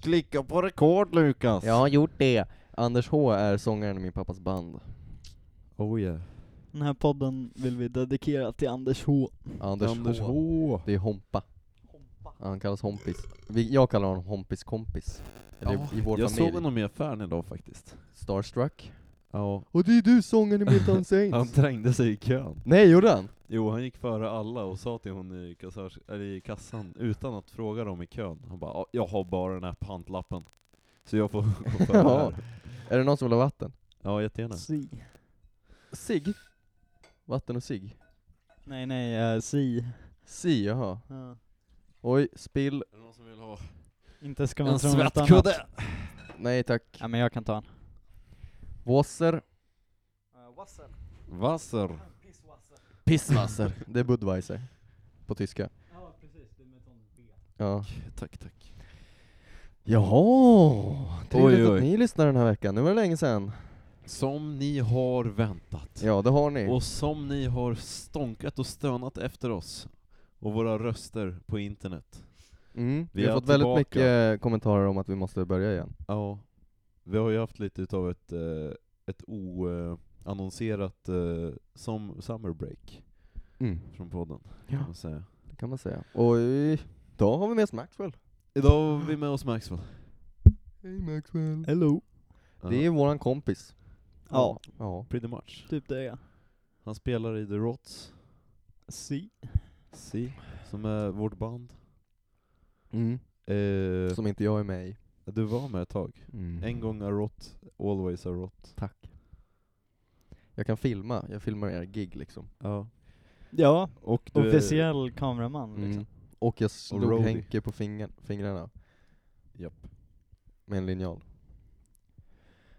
klicka på rekord Lukas. Jag har gjort det. Anders H är sångaren i min pappas band. Oh yeah. Den här podden vill vi dedikera till Anders H. Anders, H. H. Det är Hompa. Ja, Han kallas Hompis. Vi, jag kallar honom Hompis kompis. Eller Ja, i vår Jag familj. såg honom i affären idag faktiskt. Starstruck. Ja. Och det är du sångaren i Milton Han Saints. trängde sig i kön. Nej, gjorde han? Jo, han gick före alla och sa till hon i, kassörs, eller i kassan, utan att fråga dem i kön, han bara "Ja, ”Jag har bara den här pantlappen, så jag får gå före Ja. här”. Är det någon som vill ha vatten? Ja, jättegärna. Si. Sig. Vatten och sig. Nej nej, eh, si. Eh, Si, jaha. Ja. Oj, spill. Är det någon som vill ha Inte ska man en tro något annat. svettkudde? Nej tack. Ja men jag kan ta en. Wasser. Wasser. Pisswasser. Det är Budweiser. På tyska. Ja. Tack, tack. Jaha! Trevligt Oj, att oj. ni lyssnar den här veckan. Nu var det länge sedan. Som ni har väntat. Ja, det har ni. Och som ni har stånkat och stönat efter oss. Och våra röster på internet. Mm. Vi Vi, har är fått väldigt tillbaka. mycket kommentarer om att vi måste börja igen. Ja. Vi har ju haft lite utav ett, eh, ett oannonserat eh, som summer break från podden. Ja, kan man säga. det kan man säga. Och idag har vi med oss Maxwell. Idag har vi med oss Maxwell. Hej Maxwell. Hello. Det är våran kompis. Ja, Ja. pretty much. typ det ja. Han spelar i The Rots, Si. si, som är vårt band. Mm. Eh, Som inte jag är med i. du var med ett tag. Mm. En gång a rot, always a rot. Tack. Jag kan filma. Jag filmar era gig liksom. Ja. Ja, Och du är- officiell kameraman liksom. Mm. Och jag slog roadie. Henke på fingern, fingrarna Japp. med en linjal.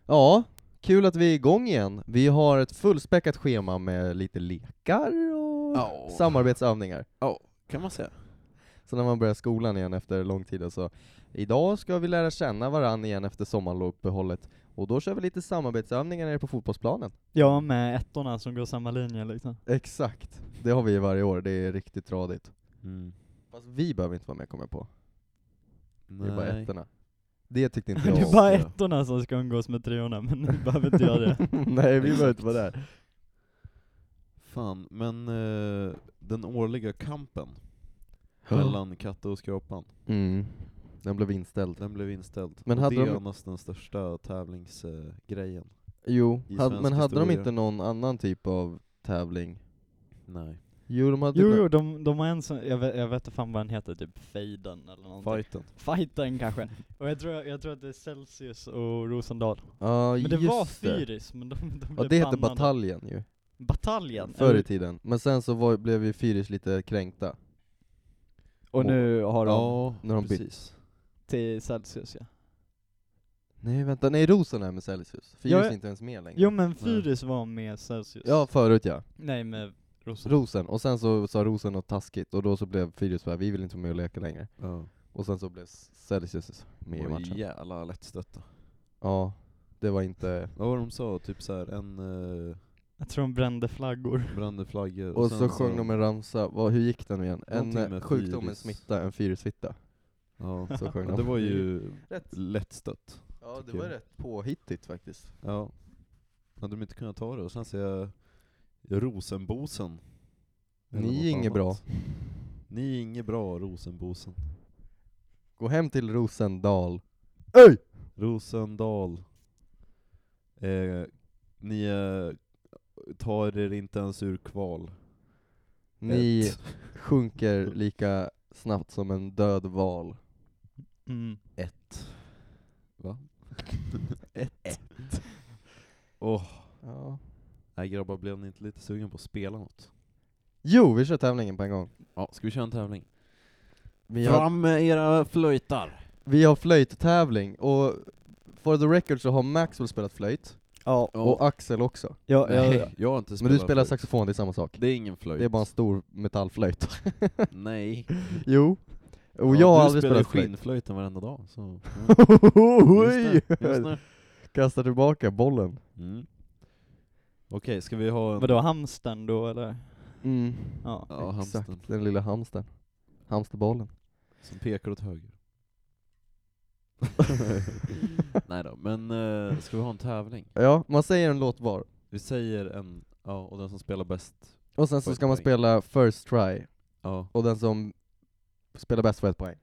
Ja, kul att vi är igång igen. Vi har ett fullspäckat schema med lite lekar och Ja. samarbetsövningar. Kan man säga. Så när man börjar skolan igen efter lång tid så idag ska vi lära känna varandra igen efter sommarlovsuppehållet och då kör vi lite samarbetsövningar nere på fotbollsplanen. Ja, med ettorna som går samma linje liksom. Exakt, det har vi ju varje år, det är riktigt tradigt. Mm. Fast vi behöver inte vara med kommer jag på, Nej. det är bara ettorna. Det tyckte inte Det jag är om. bara ettorna som ska umgås med treorna, men ni behöver inte göra det. Nej, vi behöver inte vara där. Fan, men eh, den årliga kampen mellan katte och skrapan, Mm. Den blev inställd. den blev inställd. Men Och hade det är de- annars den största tävlingsgrejen. Jo, I had, svensk men hade de historia. inte någon annan typ av tävling? Nej. Jo, de hade Jo, nå- jo, de, de har en som, jag vet, jag vet inte fan vad den heter, typ Fejden eller någonting. Fighten. Fighten kanske. Och jag tror, jag tror att det är Celsius och Rosendal. Ja, Men just det var det. Fyris, men de, de blev Ja, det hette bannade. bataljen ju, Bataljen? förr i tiden. Men sen så var, blev ju Fyris lite kränkta. Och nu har de Ja, när de bytte. precis. till Celsius ja. Nej vänta, nej Rosen är med Celsius. Fyris Ja, är ja. inte ens med längre. Jo men Fyris var med Celsius. Ja, förut ja. Nej med Rosendal. Rosen. Och sen så sa Rosen något taskigt, och då så blev Fyris bara, vi vill inte vara med och leka längre. Ja. Och sen så blev Celsius med i Och matchen. jävla lättstötta. Ja, det var inte... Vad var det de sa? Typ såhär, en eh, Jag tror de brände flaggor. brände flaggor Och så sjöng de en ramsa, vad, hur gick den nu igen? En Någonting eh, med sjukdom, en virus. smitta, en fyrussmitta. Ja, Så sjöng ja, de. det var ju Rätt. lättstött. Ja, det tycker var jag. rätt påhittigt faktiskt. Ja. Hade de inte kunnat ta det? Och sen ser jag Rosenbosen. Eller något Ni är inget annat. bra. Ni är inget bra, Rosenbosen. Gå hem till Rosendal. Rosendal. Eh, ni eh, tar er inte ens ur kval. Ni Ett. sjunker Mm. lika snabbt som en död val. Mm. Ett. Va? Ett. Åh, Ja. nej grabbar, blev ni inte lite sugen på att spela något? Jo, vi kör tävlingen på en gång. Ja, ska vi köra en tävling? Vi har, med era flöjtar! vi har flöjttävling, och for the record så har Maxwell spelat flöjt, Ja, och Axel också. ja, ja, Nej, jag har inte Men spelat du spelar flöjt. saxofon, det är samma sak. Det är ingen flöjt. Det är bara en stor metallflöjt. Nej. Jo. Och Ja, jag har du aldrig spelar spelat flöjt. skinnflöjten varenda dag, så... Mm. Oj! Just det, just det. Kastar tillbaka bollen. Mm. Okej, ska vi ha en... vadå hamstern då eller? Mm. Ja. Ja, Exakt, hamstern. den lilla hamstern. Hamsterbollen. Som pekar åt höger. Nej då, men eh, ska vi ha en tävling? Ja, man säger en låt var. Vi säger en, ja, och den som spelar bäst, Och sen så Får ska man poäng. spela first try, ja, och den som spelar bäst får ett poäng.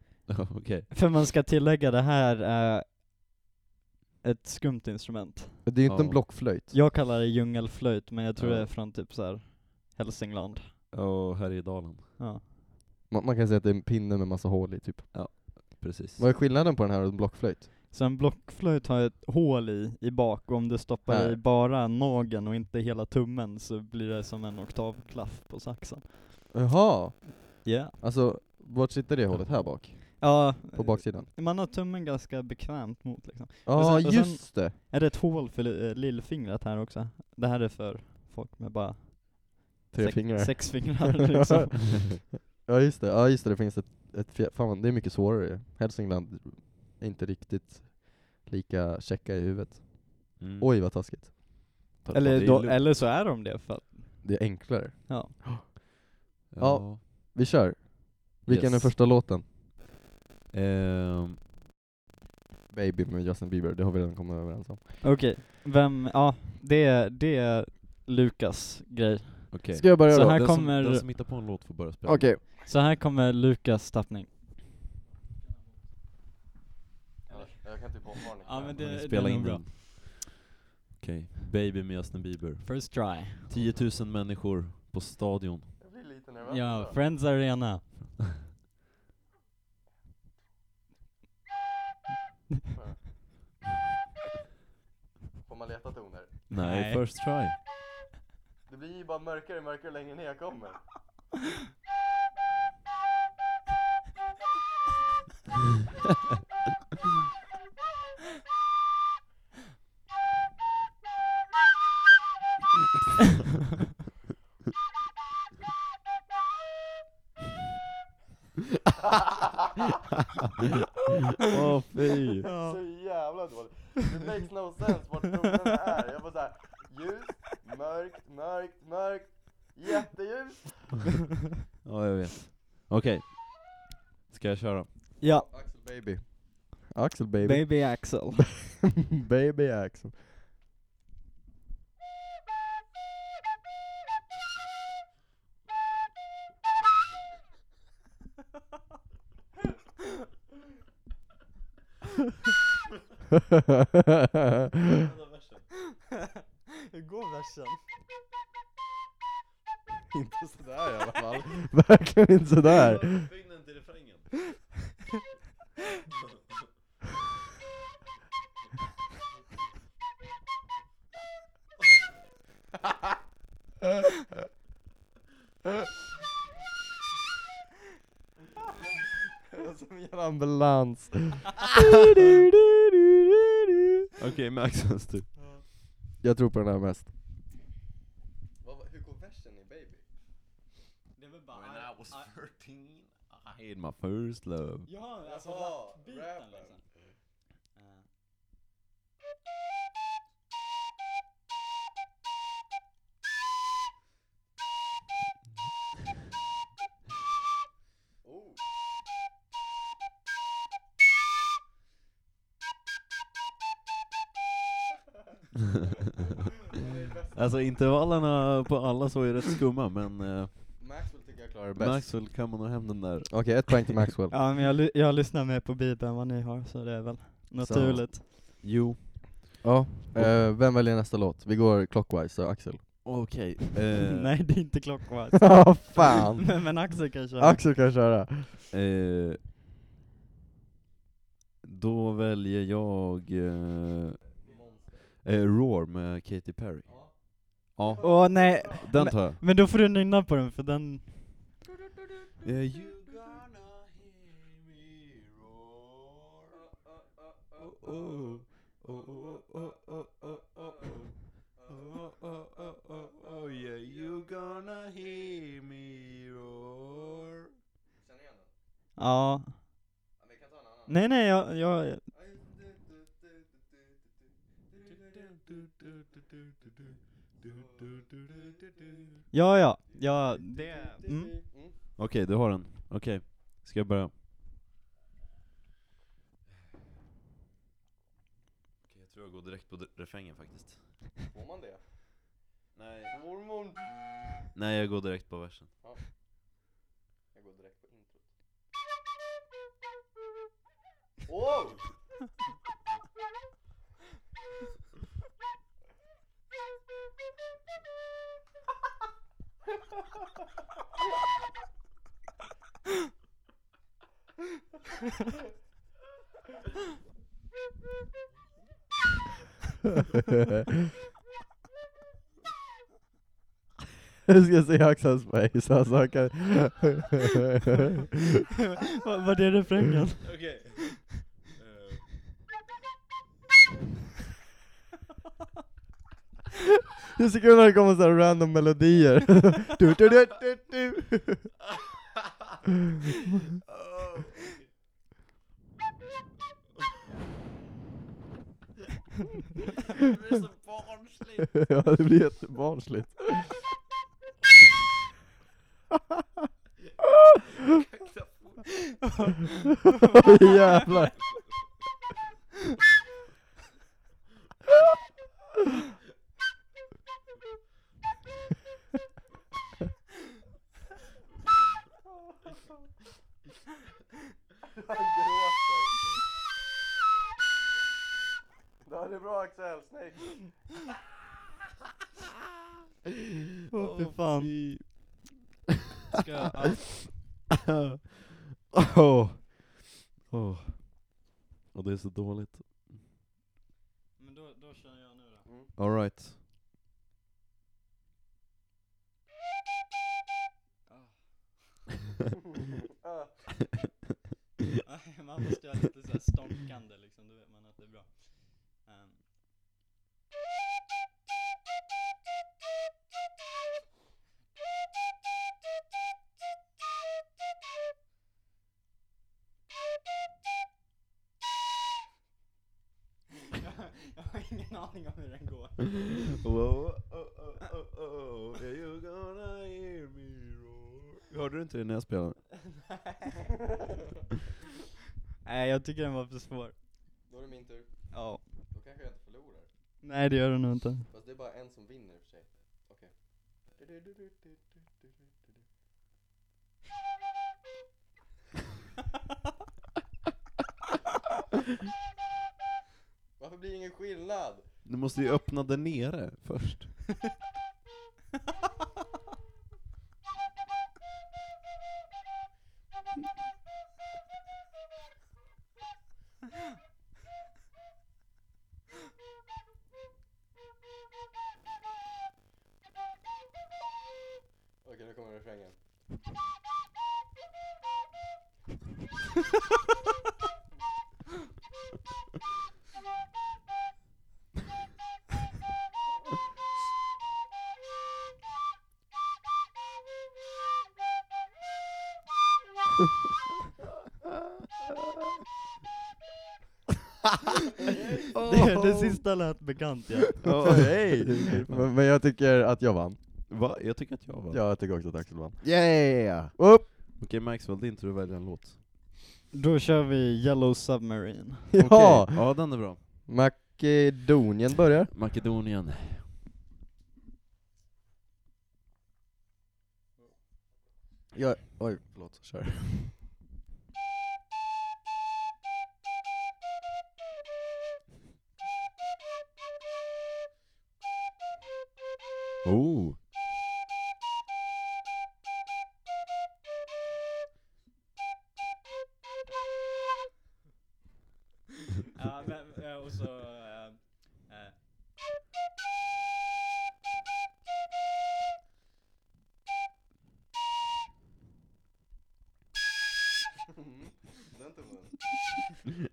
okej. För man ska tillägga, det här är ett skumt instrument. Det är ju inte en Ja. blockflöjt. Jag kallar det djungelflöjt, men jag tror Ja. det är från typ så här Hälsingland. Och Härjedalen, Ja. Man, man kan säga att det är en pinne med massa hål i, typ. precis. Vad är skillnaden på den här och en blockflöjt? Så en blockflöjt har ett hål i, i bak, och om du stoppar Här. i bara nageln och inte hela tummen så blir det som en oktavklaff på saxen. Jaha! Ja. Alltså, vart sitter det hålet? Här bak? Ja, eh, På baksidan? man har tummen ganska bekvämt mot liksom. Ja, sen- och sen- just det! Är det ett hål för li- eh, lillfingret här också? Det här är för folk med bara Tre sex, fingrar. sex fingrar liksom. ja just det, ja just det, det finns ett, ett fjär, fan det är mycket svårare ju. Hälsingland är inte riktigt lika checka i huvudet. Mm. Oj vad taskigt. Ta- ta det eller, då, lugnt. eller så är de det för att, Det är enklare. ja. ja. Vi kör. Vilken Yes. är första låten? Ehm, Baby med Justin Bieber, det har vi redan kommit överens om. Okej, vem, ja, det är, det är Lukas grej. okej. Ska jag börja Så då? här den, kommer- som, den som hittar på en låt får börja spela. Okej. Så här kommer Lukas tappning. Jag kan typ avvarning. Ja, men Men det- vi det spelar är nog in bra. den. Okej, Baby med Justin Bieber. First try. 10 000 människor på stadion. Jag blir lite Ja, Friends Arena. Får man leta toner? Nej, Nej. first try. Det blir ju bara mörkare och mörkare längre ner jag kommer. Åh fy! Ja. Så jävla dåligt. Det makes no sense vart tonerna är. Jag bara såhär, ljust, mörkt, mörkt, mörkt, jätteljust. Ja, jag vet. Okej. Ska jag köra? ja, Axel baby. Axel baby. Baby Axel. baby Axel. Hur går versen? inte sådär i alla fall. Verkligen inte sådär. Fynden till refrängen. Som en jävla ambulans. Okej, med Axels tur. Jag tror på den här mest. Hur går versen i baby? Det är väl When I was 13 I had my first love. Ja, alltså Jaha, rapbiten rappen. liksom. Oh. Alltså intervallerna på alla så är rätt skumma men eh, Maxwell tycker jag klarar bäst. Maxwell kan man ha hem den där. Okej, ett poäng till Maxwell. Ja, men jag, ly- jag lyssnar mer på beat än vad ni har, så det är väl naturligt. Jo. ja. eh, vem väljer nästa låt? Vi går clockwise, så Axel. Okej. eh, Nej, det är inte clockwise. Ja, fan! men, men Axel kan köra. Axel kan köra. Eh, då väljer jag eh, eh, Roar med Katy Perry. Ja, Åh nej, den tar jag. men då får du nynna på den för den... Eh, you Ja. Nej nej, jag... jag ja ja, ja det... Mm. Okej, du har den. Okej, ska jag börja? tror jag går direkt på dr- refrängen faktiskt. Får man det? Nej. Mormon! Nej, jag går direkt på versen. Jag går direkt på introt. Wow! Jag ska se Axels face, alltså han kan... Vad vad är refrängen? Okej. Det är så kul när det kommer såhär random melodier. du, du, du, du, du. Det blir så barnsligt. ja, det blir jättebarnsligt. Jävlar. Ja, det är bra Axel, snyggt! Åh fy fan. Ska jag, ja. Åh. Åh. Oh. Och det är så dåligt. Men då, då känner jag nu då. Alright. Nej, man måste göra lite såhär stånkande liksom, då vet man att det är bra. Ehm. Jag- Jag har ingen aning om hur den går. Mm-hmm. Hörde du inte det när jag spelade? Nej, jag tycker den var för svår. Då är det min tur. Ja. Då kanske jag inte förlorar. Nej, det gör den nog inte. Fast det är bara en som vinner i och för sig. Okej. Varför blir det ingen skillnad? Du måste ju öppna där nere först. Okej, nu kommer refrängen. Det, det sista lät bekant Oh. ja. men, men jag tycker att jag vann. Va? Jag tycker att jag var. Ja, jag tycker också att Axel vann. Yeah! Upp! Okej Maxwell, din tur att välja en låt. Då kör vi Yellow Submarine. Ja! Okej, Ja, den är bra. Makedonien börjar. Makedonien. Ja, oj, förlåt. Kör. Oh! Ja, men, eh, och så... eh, eh. Den tummen.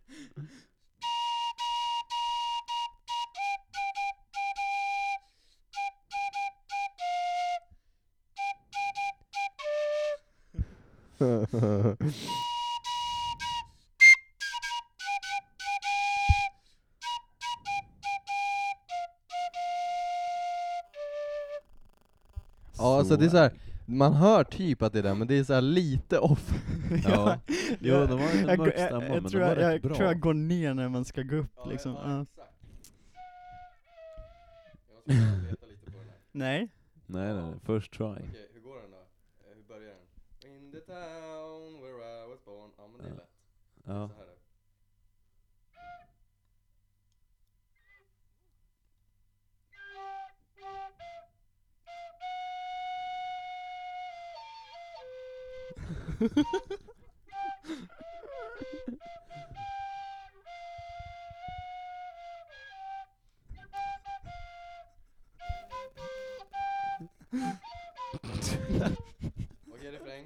Ja, alltså det är så här, man hör typ att det är den, men det är så här lite off. Ja. Jo, Jag- det var en jag- mörk jag- stämma, jag men tror den var jag, rätt jag bra. tror jag går ner när man ska gå upp liksom. Ja. exakt. Nej. Nej nej, nej. first try. Okej, hur går den då? Eh, Hur börjar den? In the town where I was born Ja men det är Ja. lätt, Ja. så här är det. Okej refräng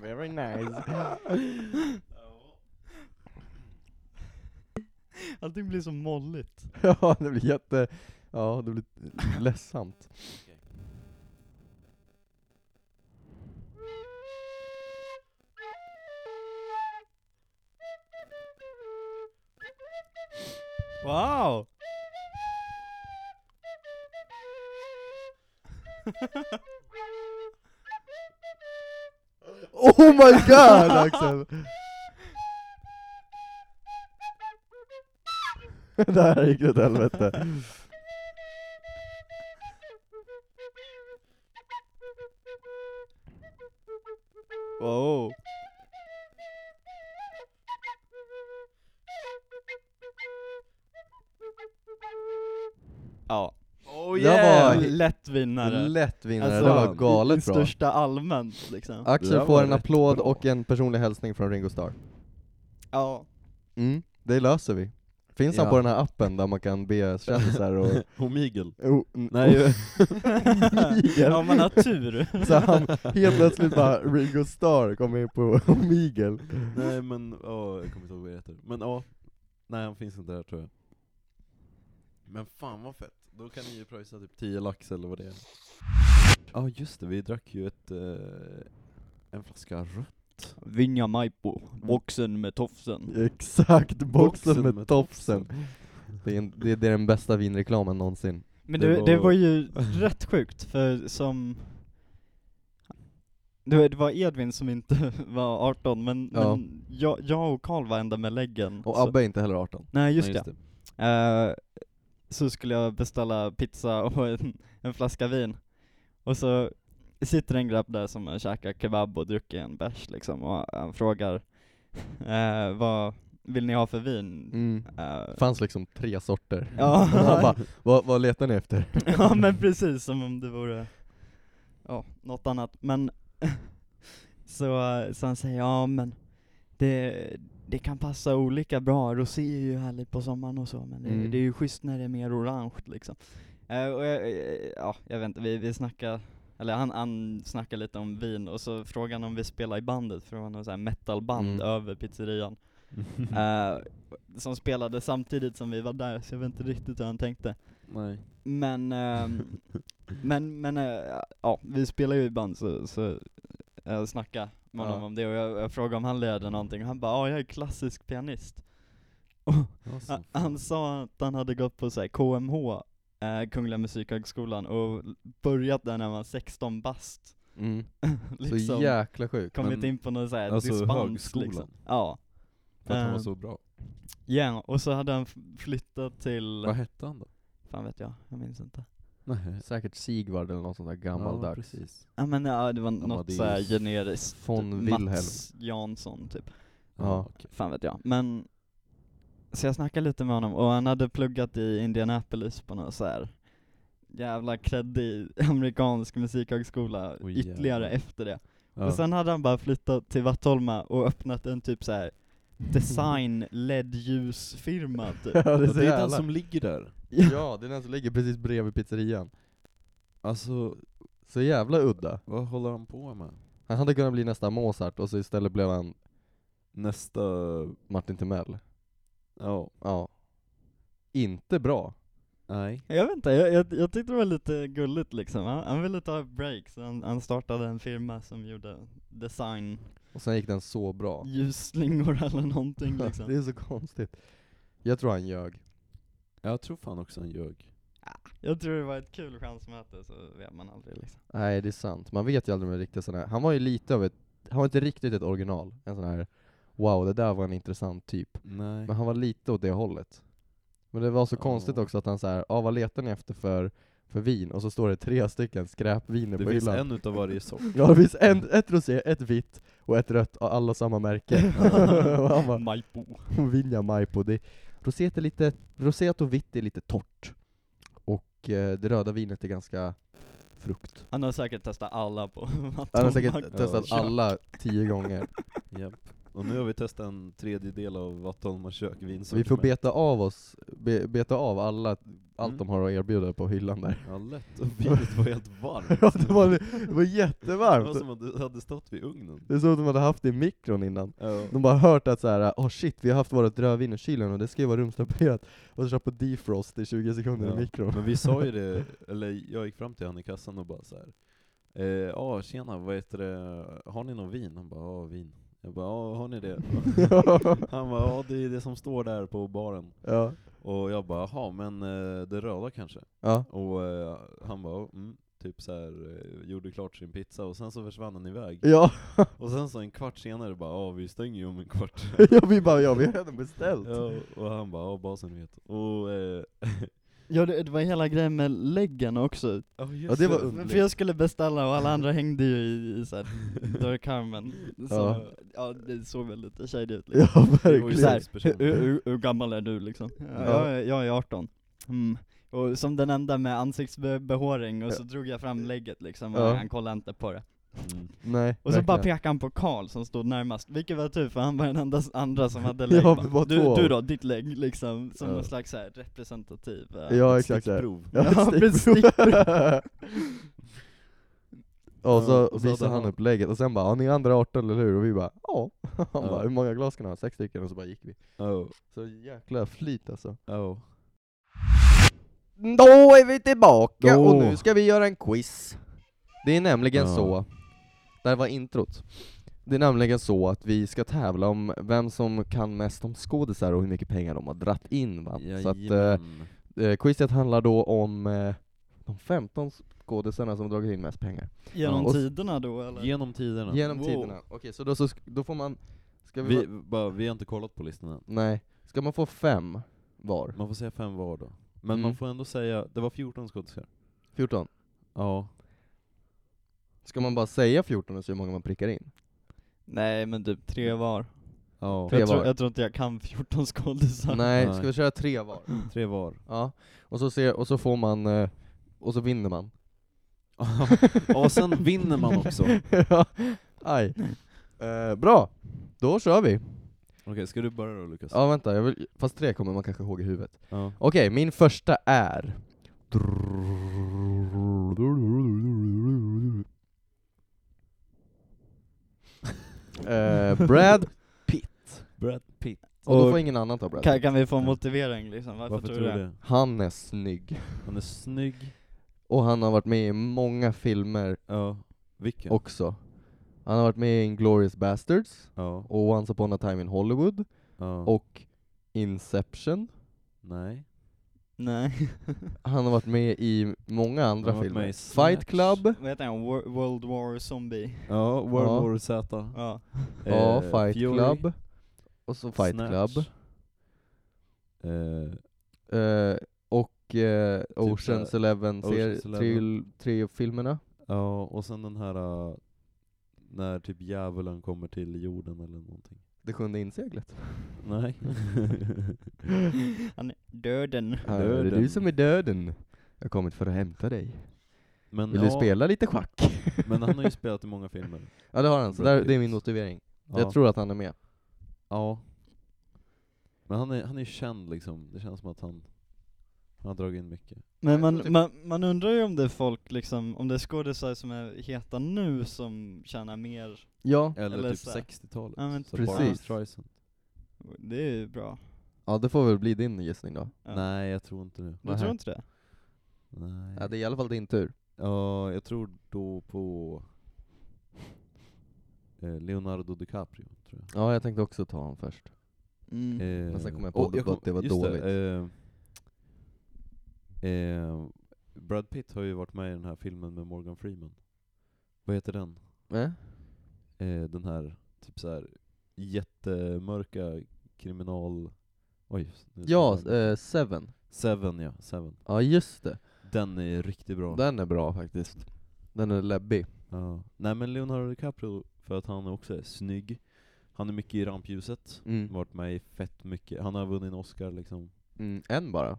Very nice Allting blir så molligt. Ja det blir jätte, ja det blir ledsamt Wow! Oh my god Axel! det här gick åt helvete. Wow. Ja, Oh yeah! en lätt vinnare. Lätt vinnare, Alltså, det var i- I galet bra. största allmänt liksom. Det Axel där får var en rätt applåd bra. och en personlig hälsning från Ringo Starr. Ja. Mm, det löser vi. Finns han Ja. på den här appen där man kan be kändisar och... Omigel. Oh, mm, Nej, oh. Miguel. ja, man har tur. Så han helt plötsligt bara, Ringo Starr kom in på Miguel. Nej men, ja, jag kommer inte ihåg vad det heter. Men ja, nej han finns inte där tror jag. Men fan vad fett, då kan ni ju pröjsa typ 10 lax eller vad det är. Ja just det, vi drack ju ett, eh, en flaska rött. Vinja Maipo, boxen med tofsen. Exakt, boxen Boxen med, med tofsen. Det är, en, det, det är den bästa vinreklamen någonsin. Men Det det, det var- var ju rätt sjukt, för som... Det var- det var Edvin som inte var 18, men, Ja. men jag, jag och Karl var ända med läggen. Och så- Abbe är inte heller 18. Nej just, Nej, det. Eh, så skulle jag beställa pizza och en, en flaska vin. Och så sitter en grabb där som har käkat kebab och druckit en bärs liksom, och han frågar eh, vad vill ni ha för vin? Mm. Eh, fanns liksom tre sorter. Ja. Och Han bara, vad, vad letar ni efter? ja men precis, som om det vore ja, något annat. Men så, eh, så han säger ja men det, det kan passa olika bra, rosé är ju härligt på sommaren och så men det, Mm. det är ju schysst när det är mer orange liksom. Eh, och jag, eh, ja, jag vet inte, vi, vi snackar eller han, han snackar lite om vin och så frågar han om vi spelar i bandet, för det var något så här metalband Mm. över pizzerian. Mm. eh, som spelade samtidigt som vi var där, så jag vet inte riktigt hur han tänkte. Nej. Men, ehm, men, men eh, ja, vi spelar ju i band så, så jag snackade med honom Ja. om det och jag, jag frågade om han lirade någonting och han bara ja, jag är klassisk pianist. Och Alltså, han, han sa att han hade gått på så här, KMH, eh, Kungliga Musikhögskolan, och börjat där när han var 16 bast. Mm. Så liksom, jäkla sjukt. kommit men- in på någon så här alltså dispens högskolan. liksom. Ja. för att han var Ehm, så bra. Ja, och så hade han f- flyttat till, Vad hette han då? fan vet jag, jag minns inte. Nej. Säkert Sigvard eller något sånt där Ja, gammaldags. precis. Ja men ja, det var något Amadeus. såhär generiskt, Typ Von Mats Jansson typ, Ja. okej. fan vet jag. Men, så jag snackade lite med honom och han hade pluggat i Indianapolis på någon såhär jävla kreddig amerikansk musikhögskola Oj, ytterligare jävlar. efter det. Ja. Och sen hade han bara flyttat till Vattholma och öppnat en typ såhär design led ljusfirma typ. ja, Ja, det är så det är den jävla... som ligger där. Ja, det är den som ligger precis bredvid pizzerian. Alltså, Så jävla udda. vad håller han på med? Han hade kunnat bli nästa Mozart och så istället blev han Nästa, Martin Timell. ja, Ja. Inte bra. nej. Jag vet inte, jag, jag, jag tyckte det var lite gulligt liksom. Han, han ville ta ett break så han, han startade en firma som gjorde design Och sen gick den så bra. ljusslingor eller någonting liksom. Det är så konstigt. Jag tror han ljög. Jag tror fan också han ljög. Jag tror det var ett kul chansmöte, så vet man aldrig liksom. Nej det är sant, man vet ju aldrig med riktiga sådana här. Han var ju lite av ett, han var inte riktigt ett original. En sån här, wow det där var en intressant typ. Nej. Men han var lite åt det hållet. Men det var så Ja. konstigt också att han såhär, ah, vad letar ni efter för, för vin? Och så står det tre stycken skräpviner Det på finns hyllan. en utav varje sort. Ja det finns en, ett rosé, ett vitt och ett rött, och alla samma märke. och han bara, Maipo. Vinja Maipo, det, roséet, är lite, roséet och vitt är lite torrt. Och eh, det röda vinet är ganska frukt. Han har säkert testat alla på vad Han har de säkert Ja, testat kört. alla tio gånger. Japp. Och nu har vi testat en tredjedel av vad Tolma kök Vi får vinsortiment. beta av oss, be, beta av alla, allt Mm. de har att erbjuda på hyllan där. Ja, lätt. Och vinet var helt varmt. Ja, det, var, det var Det var jättevarmt! som att det hade stått vid ugnen. Det är som att de hade haft det i mikron innan. Ja. De bara hört att så här, oh shit, vi har haft vårt rödvin i kylen och det ska ju vara rumstempererat. Och så kör på defrost i 20 sekunder Ja. i mikron. Men vi sa ju det, eller jag gick fram till han i kassan och bara så här. Eh, ja tjena, vad heter det, har ni någon vin? Han bara, ja vin. Jag bara, ja har ni det? Han bara, ja det är det som står där på baren. ja. Och jag bara, jaha men eh, det röda kanske? Ja. Och eh, han bara, "Ja, mm, typ så här, eh, gjorde klart sin pizza och sen så försvann han iväg. Ja. Och sen så en kvart senare bara, ja vi stänger ju om en kvart. ja, vi bara ja, vi har redan beställt. ja, och han bara, ja bara så ni vet. Och, eh, Ja det, det var hela grejen med läggen också. Ja, det var Men underligt. för jag skulle beställa och alla andra hängde ju i, i såhär dörrkarmen. Så, ja. Ja. det såg väl lite shady ut liksom. Ja, Det var ju verkligen. Såhär, sex hur, personer. hur, hur gammal är du liksom? Mm. Ja, Ja. Jag, är- jag är 18. Mm. Och som den enda med ansiktsbehåring och så drog jag fram lägget liksom och Ja. han kollade inte på det. Mm. Nej, Och så bara verkligen. pekade han på Karl som stod närmast, vilket var tur för han var den enda s- andra som hade Ja, lägg. vi bara, var du, två. du då, ditt lägg liksom, som Ja. någon slags så här representativ. eh, Ja exakt så här. Stickprov. Ja, Ja, stickprov. precis, Ja, Ja, och så och så visade hade han han- upp lägget och sen bara ja, ni är andra 18 eller hur? Och vi bara ja. Ja. Han bara hur många glas kan du ha? Sex stycken och så bara gick vi. Ja, Så jäkla flyt alltså. ja. Då är vi tillbaka Då. och nu ska vi göra en quiz. Det är nämligen Ja. så, där var introt. Det är nämligen så att vi ska tävla om vem som kan mest om skådisar och hur mycket pengar de har dratt in va? Så att, eh, Jajamän. Eh, quizet handlar då om eh, de 15 skådisarna som dragit in mest pengar. Genom Ja. tiderna då eller? Genom tiderna. Genom Wow. tiderna. Okej, så, då, så sk- då får man... Ska vi, Vi, få- bara, vi har inte kollat på listan än. Nej. Ska man få fem var? Man får säga fem var då. Men Mm. man får ändå säga, det var 14 skådisar. 14. Ja. Ska man bara säga 14 och se hur många man prickar in? Nej men typ tre var. ja. Tre Jag, tror, var. jag tror inte jag kan 14 skådisar. Nej, Nej. ska vi köra tre var? Tre var. Ja. Och så, ser, och så får man... Eh, och så vinner man. Ja, och sen vinner man också. Okej, ja. Aj. Eh, bra! Då kör vi. ska du börja då Lukas? Ja vänta, jag vill, fast tre kommer man kanske ihåg i huvudet. Ja. Okej, min första är... Eh, Brad Pitt. Brad Pitt. Och, då Och- får ingen annan ta Brad Kan, Pitt. kan vi få en motivering liksom? Varför, Varför tror du det? Han är snygg. Han är snygg. Och han har varit med i många filmer Ja. Vilken? också. Han har varit med i Inglourious Basterds, Ja. och Once upon a time in Hollywood, ja. och Inception. Nej. Nej. Han har varit med i många andra har varit med filmer. i Fight Snatch. Club, Vad heter han? Wor- World War Zombie? Ja, World Ja. War Z. Ja. ja, Eh, Fight Fury, Club, och så Fight Snatch. Club. Eh, Eh, och eh, Oceans såhär, Eleven, ser, Typ, Ocean's tre, tre filmerna. ja, och sen den här eh, när typ djävulen kommer till jorden eller någonting. Det sjunde inseglet. Nej. Han är döden. Här är det Döden. du som är döden. Jag har kommit för att hämta dig. men, Vill du ja, spela lite schack? men han har ju spelat i många filmer. ja det har han, så Brad där, det är Pitt. min motivering. Ja. Jag tror att han är med. Ja. Men han är, han är ju känd liksom, det känns som att han, han har dragit in mycket. Men Jag man, tror typ- man, man undrar ju om det är folk liksom, om det är skådisar som är heta nu som tjänar mer. Ja, Eller, Eller typ så här. 60-talet. Ja, men så precis. Barbra Streisand. Det är ju bra. ja det får väl bli din gissning Mm. då. Ja. Nej, jag tror inte det. Du Nähä. tror inte det? Nej. Ja, det är i alla fall din tur. Ja, jag tror då på eh, Leonardo DiCaprio, tror jag. Ja, jag tänkte också ta honom först. Mm. Eh, Men sen kom jag på och jag att kom- det var just dåligt. Det, eh, eh, Brad Pitt har ju varit med i den här filmen med Morgan Freeman. Vad heter den? Eh? Eh, den här typ så här jättemörka kriminal... Oj. nu Ja, sa jag- eh, Seven. Seven ja, Seven. Ja just det. Den är riktigt bra. Den är bra faktiskt. Den är läbbig. Ja. Nej men Leonardo DiCaprio, för att han också är snygg. Han är mycket i rampljuset. Mm. Varit med i fett mycket. Han har vunnit en Oscar liksom. Mm. En bara?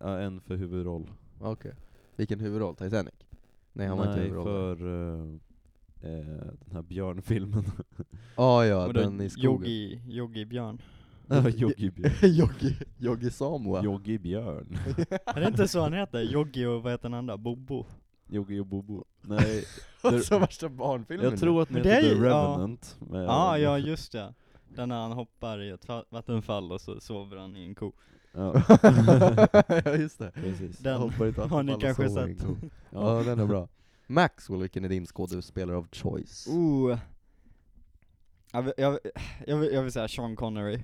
Ja, en för huvudroll. Okej. Vilken huvudroll? Titanic? Nej han var inte huvudroll. där. för eh, eh, den här björnfilmen. Ja ja, Vadå, den i skogen. Yogi, Yogi Björn. Joggi björn. Yogi, Yogi Samua. Joggi björn. Är det inte så han heter? Yogi och vad heter den andra? Bobo? Joggi och Bobo. Nej, Det- Som Alltså, värsta barnfilmen. jag tror att den Men det heter The är ju- ja. Revenant. men- Ja, ah, ja just det. Den när han hoppar i ett va- vattenfall och så sover han i en ko. ja. ja just det. Precis. Den Hoppar i ett har ni vattenfall och kanske sover i en sett. ko. Ja den är bra. Maxwell, vilken är din skådespelare av choice? Oh. Jag vill, jag, vill- jag, vill, jag vill säga Sean Connery.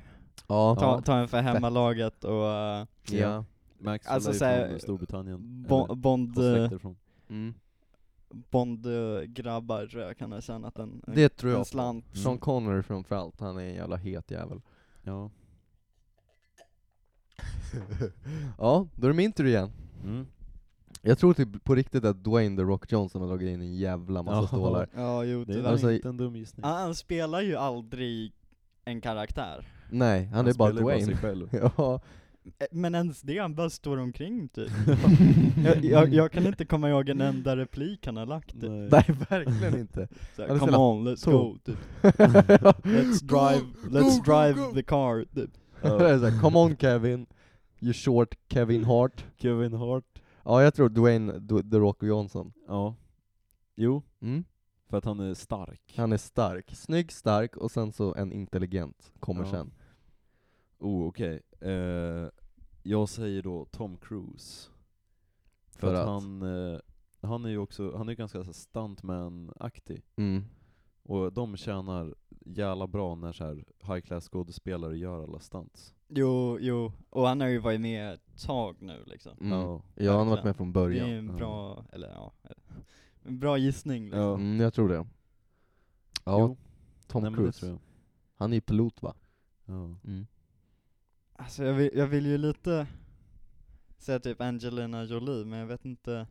Ja. Ta, ta en för hemmalaget och eh, Ja. Max Alltså alltså, är såhär, från Storbritannien. Bo- Eller, Bond, eh, har släkter från. Mm. Bond-grabbar tror jag kan ha tjänat en, en, Det tror en jag. slant. Mm. Sean Connery framförallt, han är en jävla het jävel. Ja. ja, då är det min tur igen. Mm. Jag tror typ på riktigt att Dwayne The Rock Johnson har dragit in en jävla massa Ja. stålar. Ja, jo Det är tyvärr. Alltså, inte en dum gissning. han, han spelar ju aldrig en karaktär. Nej, han, är bara spelar ju Dwayne. sig själv. ja. Eh, Men ens det, han bara står omkring typ. jag, jag, jag kan inte komma ihåg en enda replik han har lagt. Typ. Nej. Nej, verkligen inte. Såhär, Han come spelar on, let's tå. go. Typ. Let's drive, let's drive the car. Typ. Det är så här, Come on Kevin, you short Kevin Hart. Kevin Hart. Ja, jag tror Dwayne Dw- The Rock Johnson. Ja. Jo, Mm. för att han är stark. Han är stark. Snygg, stark och sen så en intelligent kommer Ja. sen. Oh, okej. Eh, jag säger då Tom Cruise. För, För att, att? han, eh, han är ju också, han är ju ganska så här stuntman-aktig. Mm. Och de tjänar jävla bra när så här high class skådespelare gör alla stunts. Jo, jo. Och han har ju varit med ett tag nu liksom. Mm. Ja, Ja. han har varit med från Det är början. ju en bra, eller ja, en bra gissning liksom. Ja. Mm, jag tror det. Ja, Jo. Tom Nej, men det Cruise. tror jag. Han är ju pilot va? Mm. Ja. Alltså jag vill, jag vill ju lite säga typ Angelina Jolie, men jag vet inte.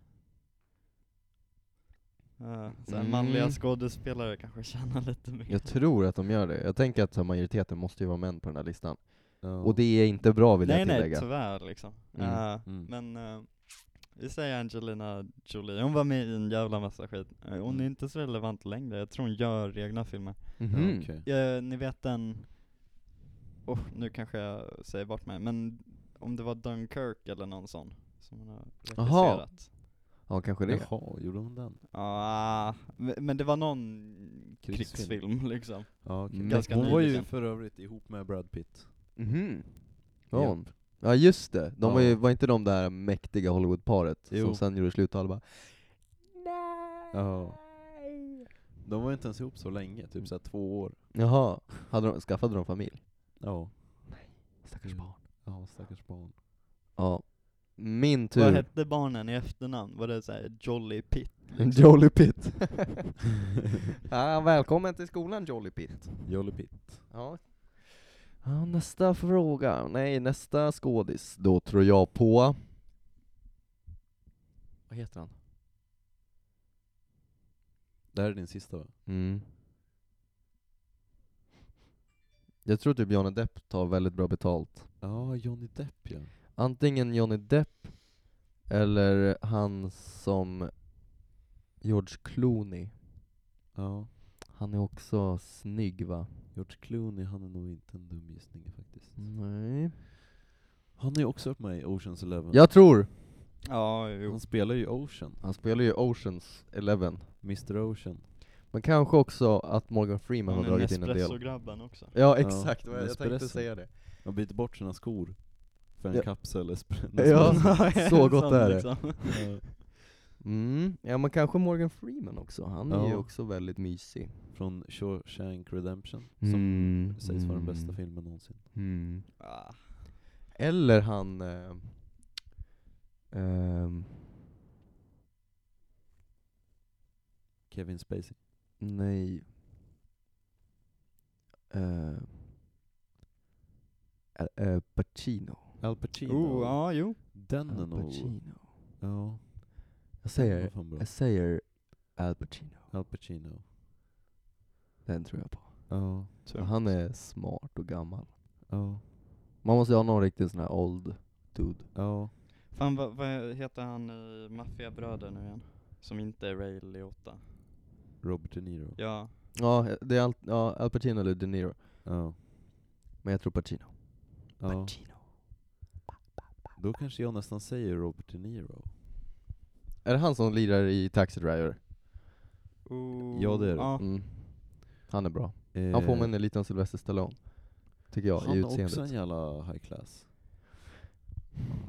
Eh, så här Mm. Manliga skådespelare kanske tjänar lite mer. Jag tror att de gör det. Jag tänker att så här, majoriteten måste ju vara män på den här listan. Ja. Och det är inte bra vill nej jag nej, tillägga. tyvärr liksom. Mm. Eh, Mm. Men eh, vi säger Angelina Jolie, hon var med i en jävla massa skit. Eh, hon är Mm. inte så relevant längre, jag tror hon gör egna filmer. Mhm. Ja, okej. Eh, ni vet den, oh, nu kanske jag säger bort mig, men om det var Dunkirk eller någon sån som hon har Aha. regisserat. Ja, kanske det. Jaha, gjorde hon den? Ja, men men det var någon krigsfilm, Krigsfilm. liksom. Ja, okej. Mm. Ganska hon var ju nyligen. för övrigt ihop med Brad Pitt. Mhm. Ja, Japp. hon. ja just det. De Ja. var, ju, var inte de där mäktiga Hollywoodparet som Jo. sen gjorde slut och alla bara Ja. Oh. De var inte ens ihop så länge, typ såhär två år. Jaha, hade de, skaffade de familj? Ja. Stackars Mm. Ja, stackars barn. Ja. Min Vad tur. hette barnen i efternamn? Var det såhär Jolly Pitt? Jolly Pitt. ja, välkommen till skolan Jolly Pitt. Jolly Pitt. Ja. Ja, nästa fråga. Nej, nästa skådis. Då tror jag på... Vad heter han? Det här är din sista va? Mm. Jag tror typ Johnny Depp tar väldigt bra betalt. Ja, Johnny Depp ja. Antingen Johnny Depp, eller han som George Clooney. Ja. Han är också snygg va? George Clooney, han är nog inte en dum gissning faktiskt. Mm. Nej. Han är ju också varit med i Oceans Eleven. Jag tror! Ja, jo. Han spelar ju Ocean, Han spelar ju Oceans Eleven. Mr Ocean. Men kanske också att Morgan Freeman Han har är dragit in en del. Nespresso-grabben också. Ja exakt, vad jag tänkte Nespresso. säga det. Han byter bort sina skor för en Ja. kapsel espresso. Ja. En så gott sån är det. liksom. Mm. Ja men kanske Morgan Freeman också, han är ju Ja. också väldigt mysig. Från Shawshank Redemption, som sägs vara den bästa filmen någonsin. Mm. Ah. Eller han... Eh, ehm, Kevin Spacey. nej. Eh, Al- eh, Pacino. Al Pacino. Oh, ja, jo. Den är Al nog... Pacino. Ja, Jag den säger, var fan bra. jag säger Al Pacino. Al Pacino. Den tror jag på. Ja, Tungt. Han är smart och gammal. ja, Man måste ju ha någon riktig sån här old dude. ja. Fan, vad, vad heter han i Maffiabröder nu igen? Som inte är Ray Liotta. Robert De Niro. Ja, Ja, det är Al, ja, Al Pacino eller De Niro. Ja. Men jag tror Pacino. ja. Pacino. Då kanske jag nästan säger Robert De Niro. Är det han som lirar i Taxi Driver? oh, Ja, det är det. Ja. Mm. Han är bra. Eh, Han påminner lite om Sylvester Stallone. Tycker jag, han i är också en utseendet. jävla high class.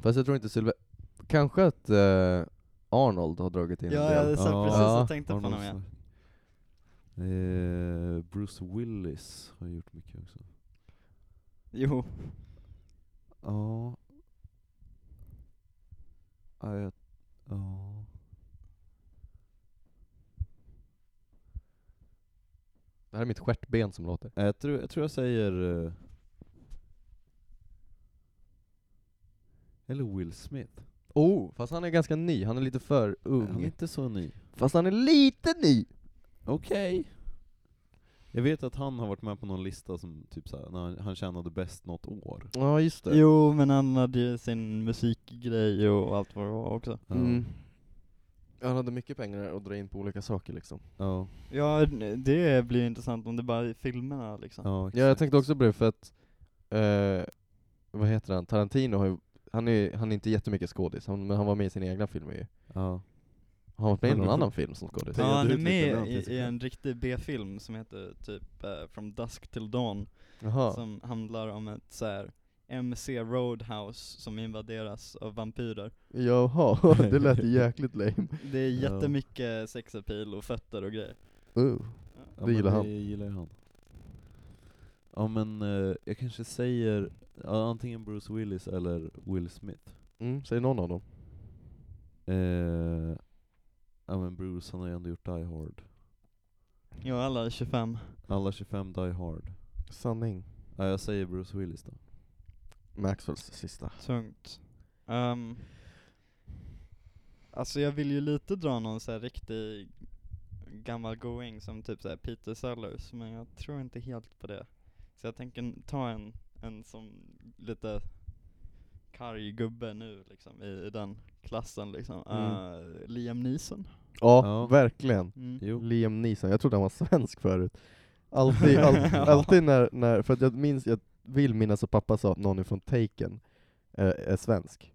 Fast jag tror inte Sylvester... Kanske att eh, Arnold har dragit in en Ja, del. jag satt Ja. precis Ja, och tänkte på Arnold honom igen. Schwarzenegger. Eh, Bruce Willis har gjort mycket också. Jo, Ja. Ja, jag... Ja. Det här är mitt stjärtben som låter. Jag tror jag, tror jag säger... eh, Eller Will Smith. Oh, fast han är ganska ny. Han är lite för ung. Han är inte så ny. Fast han är lite ny! Okej. Jag vet att han har varit med på någon lista som typ såhär, när han, han tjänade bäst något år. Ja, just det. jo men han hade ju sin musikgrej och allt vad det var också. Ja. Mm. Han hade mycket pengar att dra in på olika saker liksom. Ja. Ja, n- det blir intressant om det bara är filmerna liksom. Ja, Ja, jag exakt. tänkte också på det för att, eh, vad heter han, Tarantino har ju, han är, han är inte jättemycket skådis, han, men han var med i sina egna filmer ju. Ja. Har han varit med i Men någon du- annan film som skådis? Ja, Ja, han du är utvecklade den med till sig i, i själv. en riktig B-film som heter typ eh, From Dusk Till Dawn, Jaha. som handlar om ett så här MC Roadhouse som invaderas av vampyrer. Jaha, det lät ju jäkligt lame. Det är Ja. jättemycket sexapil och fötter och grejer. Uh. Ja, Det men gillar han. Det gillar ju han. Ja men eh, jag kanske säger ja, antingen Bruce Willis eller Will Smith. Mm, säg någon av dem. Eh, ja men Bruce han har ju ändå gjort Die Hard. Ja, alla är 25. Alla 25 Die Hard. Sanning. Ja, jag säger Bruce Willis då. Maxwells sista. Tungt. Um, alltså jag vill ju lite dra någon så här riktig gammal going som typ så här Peter Sellers, men jag tror inte helt på det. Så jag tänker n- ta en, en som lite karg gubbe nu liksom, i, i den klassen liksom. Mm. Eh, Liam Neeson. Ja, Ja. verkligen. Mm. Jo. Liam Neeson, jag trodde han var svensk förut. Alltid, all, alltid när, när, för att jag minns, jag vill minnas att pappa sa att någon är från Taken eh, är svensk.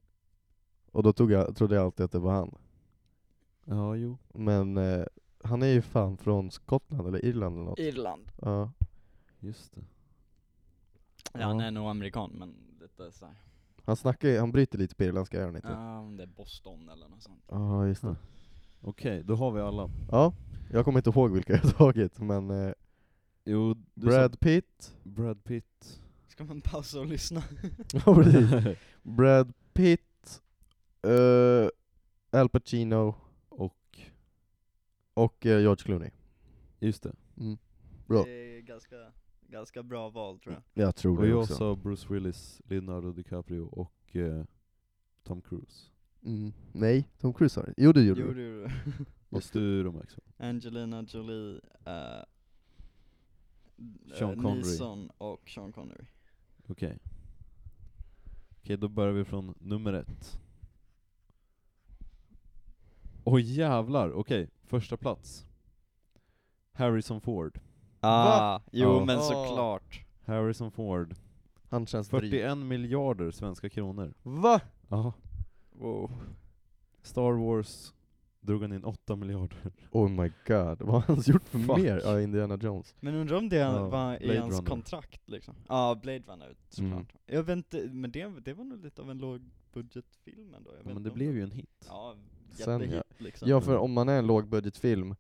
Och då tog jag, trodde jag alltid att det var han. Ja jo. Men eh, han är ju fan från Skottland eller Irland eller något. Irland. Ja. Just det. Ja, Ja. han är nog amerikan men lite såhär, Han snackar ju, han bryter lite på irländska, gör han inte? ja om det är Boston eller något sånt. Ja, just det. Huh. Okej, då har vi alla. Ja, jag kommer inte ihåg vilka jag tagit, men eh, Jo, du sa Brad Pitt, Brad Pitt. Ska man pausa och lyssna? Ja, precis. Brad Pitt, eh, Al Pacino Och, och eh, George Clooney. just det. Bra. Det är ganska, ganska bra val tror jag. Jag tror Och det jag också. sa Bruce Willis, Leonardo DiCaprio och eh, Tom Cruise. Mm. Nej, Tom Cruise har det. Jo det gjorde Jo du. det gjorde du. Och du då Max? Angelina Jolie, eh, Sean eh, Connery. Neeson och Sean Connery. Okej. Okej, då börjar vi från nummer ett. Åh jävlar, okej. Första plats. Harrison Ford. Ah, Jo Ja. men Ah. såklart. Harrison Ford. Han känns dryg. 41 miljarder svenska kronor. Va? Ja. Wow. Star Wars drog han in 8 miljarder. Oh my god, vad har han gjort för Fuck. mer? Ja, Indiana Jones. Men undrar om det Ja, var i Blade hans Runner. kontrakt liksom? Ja, ah, Blade Runner såklart. Mm. Jag vet inte, men det, det var nog lite av en lågbudgetfilm ändå. Jag vet Men inte det om blev ju en hit. Ja, Sen, jättehit ja. liksom. Ja, för om man är en lågbudgetfilm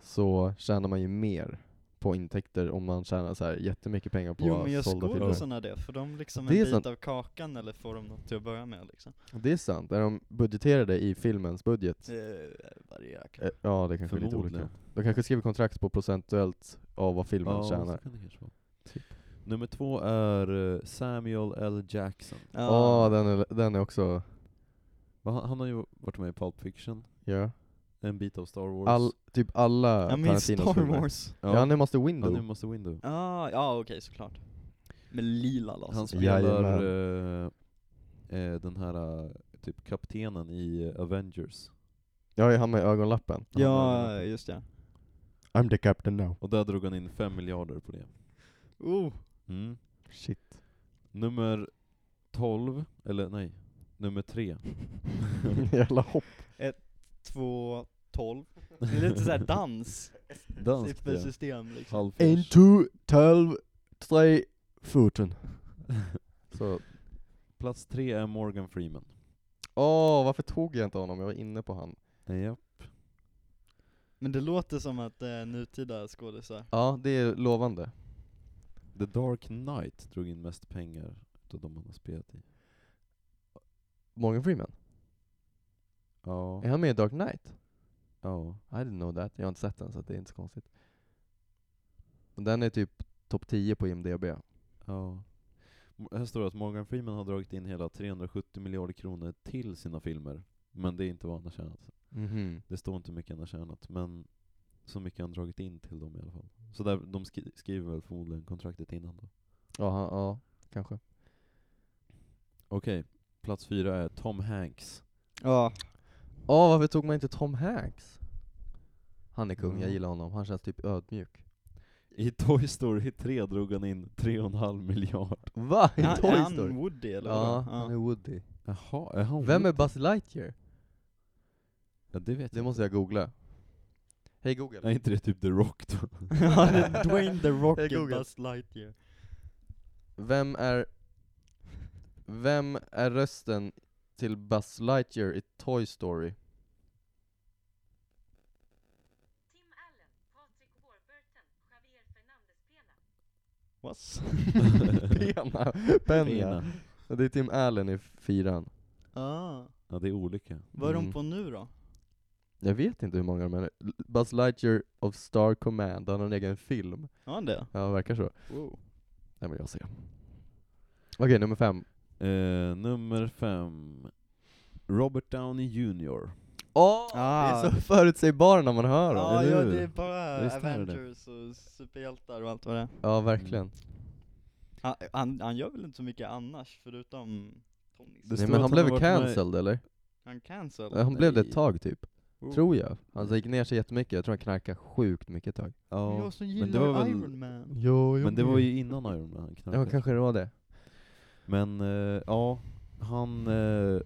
så tjänar man ju mer på intäkter om man tjänar så här jättemycket pengar på Jo men gör sålda filmer. skådisarna det? För de liksom Det är en bit sant. av kakan eller får de något till att börja med liksom? Det är sant, är de budgeterade i filmens budget? Det varierar kanske. Eh, Ja, det kanske är lite olika. Förmodligen. De kanske skriver kontrakt på procentuellt av vad filmen så tjänar. kan det kanske vara. Typ. Nummer två är eh, Samuel L. Jackson. Ja, den, är, den är också... Va, Han, han har ju varit med i Pulp Fiction, Ja. en bit av Star Wars. All, typ alla ja men i Tarantinos Star filmer. Wars. ja, Ja, han är Master han Window. är Master Window. Ja, ja okej såklart. Med lila laser. Han Jajamän. spelar eh, eh, den här eh, typ kaptenen i eh, Avengers. Ja, jag har med ögonlappen. Ja, just ja. I'm the captain now. Och där drog han in fem miljarder på det. Oh. Mm. Shit. Nummer 12, eller nej, nummer 3. Jävla hopp. Två, tolv. Det är lite såhär dans. Danskt ja. Siffersystem liksom. Halvfjärs. two, twelve, tre, foten. Så, Plats 3 är Morgan Freeman. åh varför tog jag inte honom? Jag var inne på han. Ja. Men det låter som att det är nutida skådisar. Ja, det är lovande. The Dark Knight drog in mest pengar utav de han har spelat i. Morgan Freeman? Ja. Är han med i Dark Knight? ja. I didn't know that. Jag har inte sett den så det är inte så konstigt. Men den är typ topp 10 på IMDB. ja. M- Här står det att Morgan Freeman har dragit in hela 370 miljarder kronor till sina filmer. Men det är inte vad han har tjänat. Mhm. Det står inte hur mycket han har tjänat, men så mycket han dragit in till dem i alla fall. Så där, de skri- skriver väl förmodligen kontraktet innan då. Ja, han- ja, kanske. Okej, plats fyra är Tom Hanks. Ja. Ja, varför tog man inte Tom Hanks? Han är kung, jag Ja. gillar honom. Han känns typ ödmjuk. I Toy Story 3 drog han in 3,5 miljard. Va? I Är Toy han Story? Mm. Woody eller ja, vadå? han är Woody. Jaha, är han Vem är Buzz Lightyear? Ja, det vet Det jag. måste jag googla. Hej Google. Är inte det typ The Rock då? Ja, det är Dwayne the Rock Jag i googlar. Buzz Lightyear. Vem är... Vem är rösten till Buzz Lightyear i Toy Story? What? Pena. Pena. Pena. Det är Tim Allen i fyran. Ah. Ja, det är olika. Vad är Mm. de på nu då? Jag vet inte hur många de är. Buzz Lightyear of Star Command, han har en egen film. Har han det? Ja, det verkar så. Wow. Den vill jag se. Okej, nummer fem. Eh, nummer fem. Robert Downey Jr. Åh! Det Ah. är så förutsägbart när man hör dem. Ja, eller ja, hur? det är bara Visst är det Avengers och superhjältar och allt vad det är. Ja, verkligen. Han, han, han gör väl inte så mycket annars, förutom Tonys. Det Nej står att men han han blev har varit väl med i- cancelled eller? Han cancel. Ja, Han blev det ett Nej. tag typ, Oh. tror jag. Han gick ner sig jättemycket, jag tror han knarkade sjukt mycket ett tag. Ja. Jag som men det gillar var väl- Iron Man. Jo, Men det var ju innan Iron Man han knarkade. Ja, kanske det var det. Men eh, ja, han... Eh,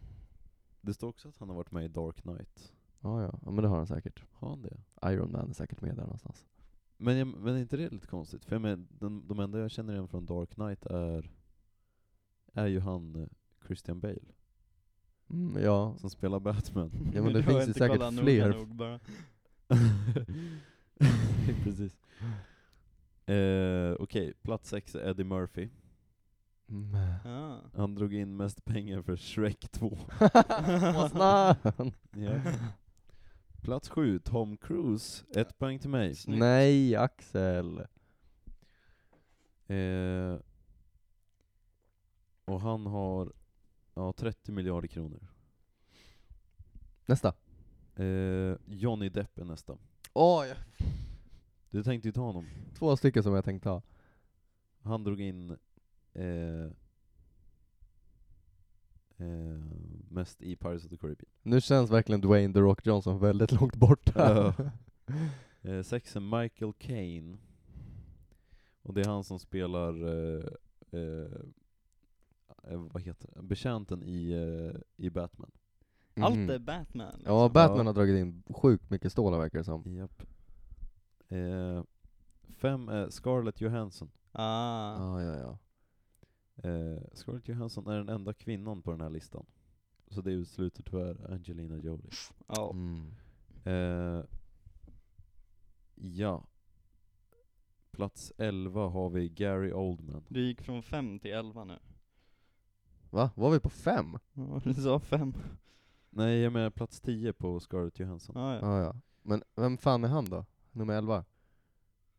det står också att han har varit med i Dark Knight. Ja, ja, ja men det har han säkert. Har han det? Iron Man är säkert med där någonstans. Men, jag, men är inte det lite konstigt? För jag men, den, de enda jag känner igen från Dark Knight är, är ju han eh, Christian Bale, Mm, ja. som spelar Batman. Ja, men det Jag finns har ju inte säkert kollat noga fler. nog bara. Precis. Eh, Okej, plats sex är Eddie Murphy. Mm. Ah. Han drog in mest pengar för Shrek 2. Vad snabb. Ja. Plats sju, Tom Cruise. Ett poäng till mig. Snyggt. Nej, Axel. Eh, och han har ja, 30 miljarder kronor. Nästa. Eh, Johnny Depp är nästa. Åh, ja. Du tänkte ju ta honom. Två stycken som jag tänkte ha. Han drog in eh, eh, mest i Pirates of the Caribbean. Nu känns verkligen Dwayne The Rock Johnson väldigt långt borta. Ja. Eh, sex är Michael Caine. Och det är han som spelar, eh, eh, eh, vad heter det? betjänten i, eh, i Batman. Allt Mhm. är Batman. Liksom. Ja, Batman Ja. har dragit in sjukt mycket stålar verkar det som. Japp. Eh, fem är Scarlett Johansson. Ah. Ja, ja, ja. Eh, Scarlett Johansson är den enda kvinnan på den här listan. Så det utesluter tyvärr Angelina Jolie. Ja. Mm. Eh, ja. Plats 11 har vi Gary Oldman. Du gick från fem till elva nu. Va? Var vi på fem? Ja, Du sa fem. Nej jag menar plats 10 på Scarlett Johansson. Ja, ja. Ah, ja. Men vem fan är han då? Nummer 11?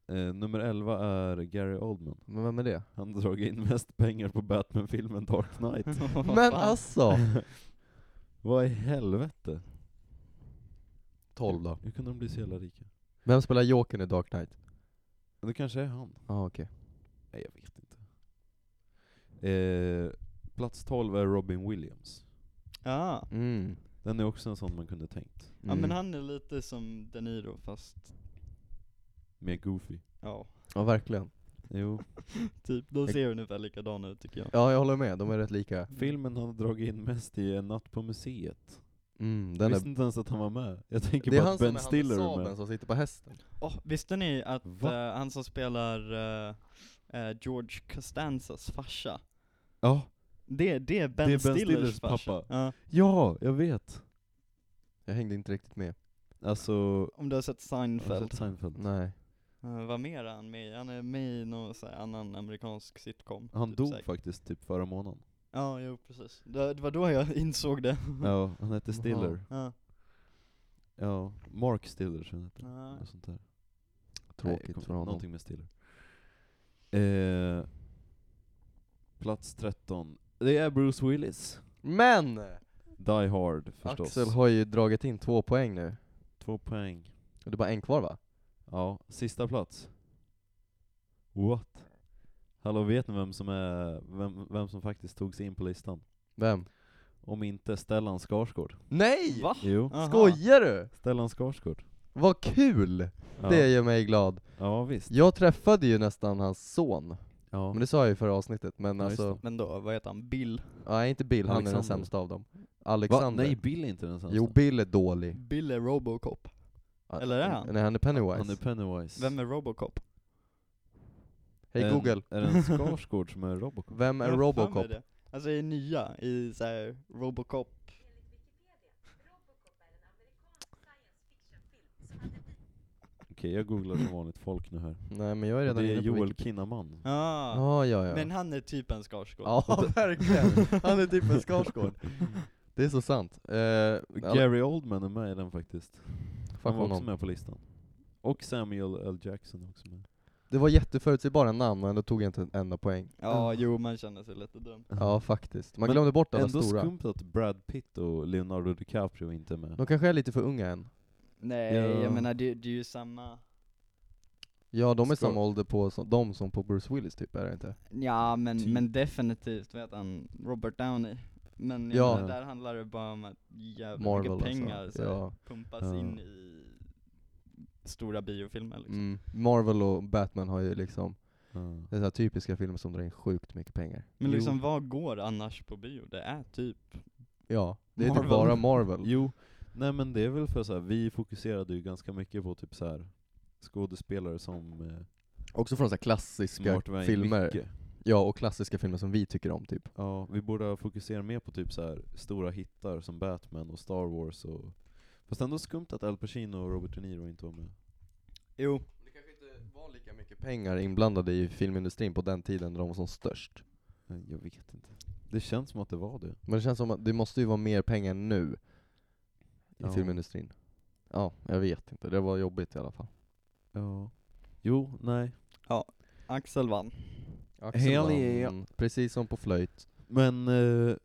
Eh, nummer 11 är Gary Oldman. Men vem är det? Han har dragit in mest pengar på Batman-filmen Dark Knight. Vad Men fan. alltså! Vad i helvete? 12 då. Hur kunde de bli så jävla rika? Vem spelar Jokern i Dark Knight? Men det kanske är han. Ja ah, okej. Nej jag vet inte. Eh, plats 12 är Robin Williams. Ja. Mm. Mm. Den är också en sån man kunde tänkt. ja, men han är lite som De Niro fast, Med Goofy. ja, Ja verkligen. Jo. typ, de ser ungefär likadana ut tycker jag. Ja jag håller med, de är rätt lika. Filmen han har dragit in mest i En natt på museet. Mm, Jag den är... visste inte ens att han var med. Jag tänker Det är bara han att som Ben Stiller är han med alltså. är sabeln med. som sitter på hästen. Åh, visste ni att Va? eh, han som spelar eh, eh, George Costanzas farsa, Ja, det, det är Ben, Det är Ben Stillers, Stillers farsa. pappa. Ja, ja jag vet. Jag hängde inte riktigt med. Alltså, har om du har sett du Seinfeld. sett Seinfeld? Nej. Eh, vad mer är han med i? Han är med i någon så här annan amerikansk sitcom. Han typ dog säkert. faktiskt typ förra månaden. Ja, jo precis. Det, det var då jag insåg det. Ja, han hette Mm. Jaha. Stiller. Ja. Ja, Mark Stiller tror jag han hette. Ja. Något sånt där. Nej, jag Tråkigt kommer- för honom. Någonting med Stiller. Eh, plats 13. Det är Bruce Willis. Men! Die Hard förstås. Axel har ju dragit in två poäng nu. Två poäng. Och det är bara en kvar va? Ja, sista plats. What? Hallå, vet ni vem som, är, vem, vem som faktiskt tog sig in på listan? Vem? Om inte Stellan Skarsgård. Nej! Va? Jo, Aha. Skojar du? Stellan Skarsgård. Vad kul! Ja, Det gör mig glad. ja visst. Jag träffade ju nästan hans son. Ja. Men det sa jag ju i förra avsnittet, men Ja, just alltså... Men då, vad heter han? Bill? Nej inte Bill, han är den Alexander. sämsta av dem. Va? Alexander. Nej, Bill alltså. är inte den sämsta. Jo, Bill är dålig. Bill är Robocop. Eller är han? Nej, han är Pennywise. Han är Pennywise. Vem är Robocop? Hej Är- Google, Är det en Skarsgård som är Robocop? vem är Jag har för mig Robocop? det. Alltså i nya, i så här Robocop. Okej, jag googlar som vanligt folk nu här. Nej men jag är Det redan är inne på Joel Wikipedia. Kinnaman. Ah. Ja, ja, ja. Men han är typ en Skarsgård. Ja, verkligen. Han är typ en Skarsgård. Det är så sant. Eh, alla- Gary Oldman är med i den faktiskt. fuck Han var också honom. med på listan. Och Samuel L. Jackson är också med. Det var jätteförutsägbara namn och ändå tog jag inte en enda poäng. Ja, jo man känner sig lite dum. Ja, faktiskt. Man Men glömde bort alla Ändå stora. skumt att Brad Pitt och Leonardo DiCaprio inte är med. De kanske är lite för unga än. Nej, Ja. jag menar det, det är ju samma. Ja, de är Ska- samma ålder på som, de som på Bruce Willis typ, är det inte? Ja men, Typ. men definitivt vet han, Robert Downey. Men jag Ja. menar, där handlar det bara om att jävligt Marvel mycket pengar alltså. så här Ja. pumpas Ja. in i stora biofilmer liksom. Mm. Marvel och Batman har ju liksom, Ja. det är så här typiska filmer som drar in sjukt mycket pengar. Men Jo. liksom vad går annars på bio? Det är typ, Ja, det är Marvel. typ bara Marvel. Jo, nej men det är väl för så här, vi fokuserade ju ganska mycket på typ så här skådespelare som eh, Också från så här klassiska Mårten Weinmicke. filmer. Ja, och klassiska filmer som vi tycker om typ. Ja, vi borde ha fokuserat mer på typ så här stora hittar som Batman och Star Wars och... Fast ändå skumt att Al Pacino och Robert De Niro inte var med. jo, Det kanske inte var lika mycket pengar inblandade i filmindustrin på den tiden när de var som störst. Nej, Eh, Jag vet inte. Det känns som att det var det. Men det känns som att det måste ju vara mer pengar nu i Ja. filmindustrin. Ja, jag vet inte. Det var jobbigt i alla fall. Ja. Jo, nej. Axel vann. Axel Hell vann, yeah. precis som på flöjt. Men... eh,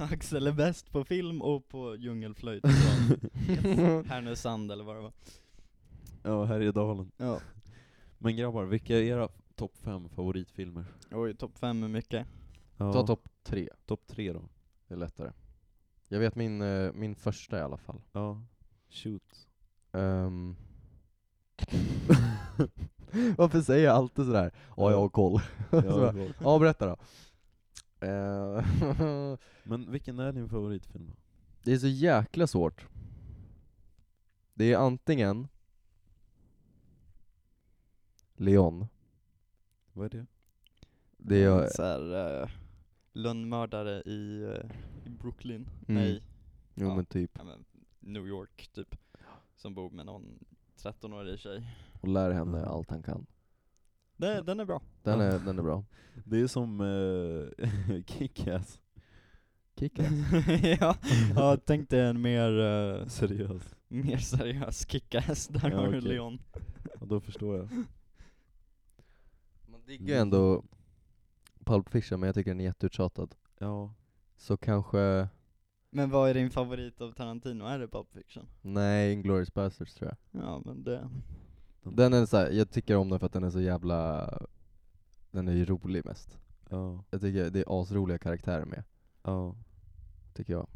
Axel är bäst på film och på djungelflöjt från Härnösand eller vad det var. ja, Härjedalen. Ja. Men grabbar, vilka är era topp fem favoritfilmer? Oj, topp fem är mycket. Ja, Ta topp tre, topp tre då. det är lättare. Jag vet min, eh, min första i alla fall. Ja. Shoot. Ehm. Varför säger jag alltid sådär? Ja, jag har koll. Så bara, Ja, Ja, berätta då. Eh, men vilken är din favoritfilm då? det är så jäkla svårt. Det är antingen Leon. Vad är det? Mm. Det är, Så här, eh, lönnmördare i, eh, i Brooklyn? Mm. Nej, Jo Ja. men typ. ja, men New York typ. Som bor med någon 13-årig tjej. Och lär henne allt han kan. Det, den är bra. Den Ja. är, den är bra. Det är som eh, Kick-Ass. Kicka. ja, ja, tänk dig en mer, eh, Seriöst. mer seriös kickass. Där Ja, har du okej. Leon. Ja, då förstår jag. Man diggar ju ändå Pulp Fiction men jag tycker den är jätteuttjatad. Ja. Så kanske, Men vad är din favorit av Tarantino? Är det Pulp Fiction? nej, Inglourious Basterds tror jag. Ja men det... Den är så här, jag tycker om den för att den är så jävla, den är ju rolig mest. Ja. Jag tycker det är asroliga karaktärer med, Ja. tycker jag.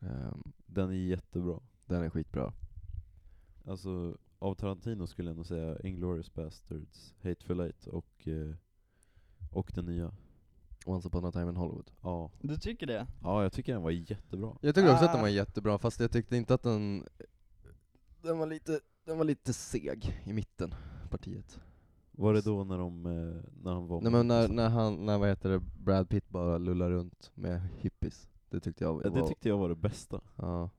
Ehm, Den är jättebra. den är skitbra. Alltså, av Tarantino skulle jag nog säga Inglourious Basterds, Hateful Eight och, eh, och den nya. Once upon a time in Hollywood. Ja. Du tycker det? ja, jag tycker den var jättebra. Jag tycker också att den Ah. var jättebra, fast jag tyckte inte att den, den var lite, den var lite seg i mitten, partiet. Var det då när de, eh, när han var Nej men när, när han, när vad heter det, Brad Pitt bara lullar runt med hippies. Det tyckte jag var, Ja, det tyckte jag var det bästa. ja.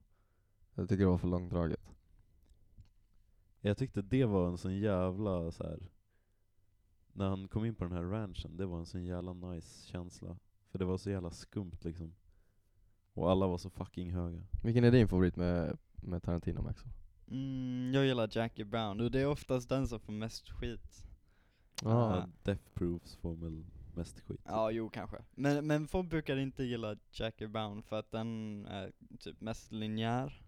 Jag tycker det var för långdraget. Jag tyckte det var en sån jävla så här. När han kom in på den här ranchen, det var en sån jävla nice känsla. För det var så jävla skumt liksom. Och alla var så fucking höga. Vilken är din favorit med, med Tarantino Max? Mm, jag gillar Jackie Brown och det är oftast den som får mest skit. Ah. Ah. Ja, Death Proofs får väl mest skit. Ja, jo kanske. Men, men folk brukar inte gilla Jackie Brown för att den är typ mest linjär.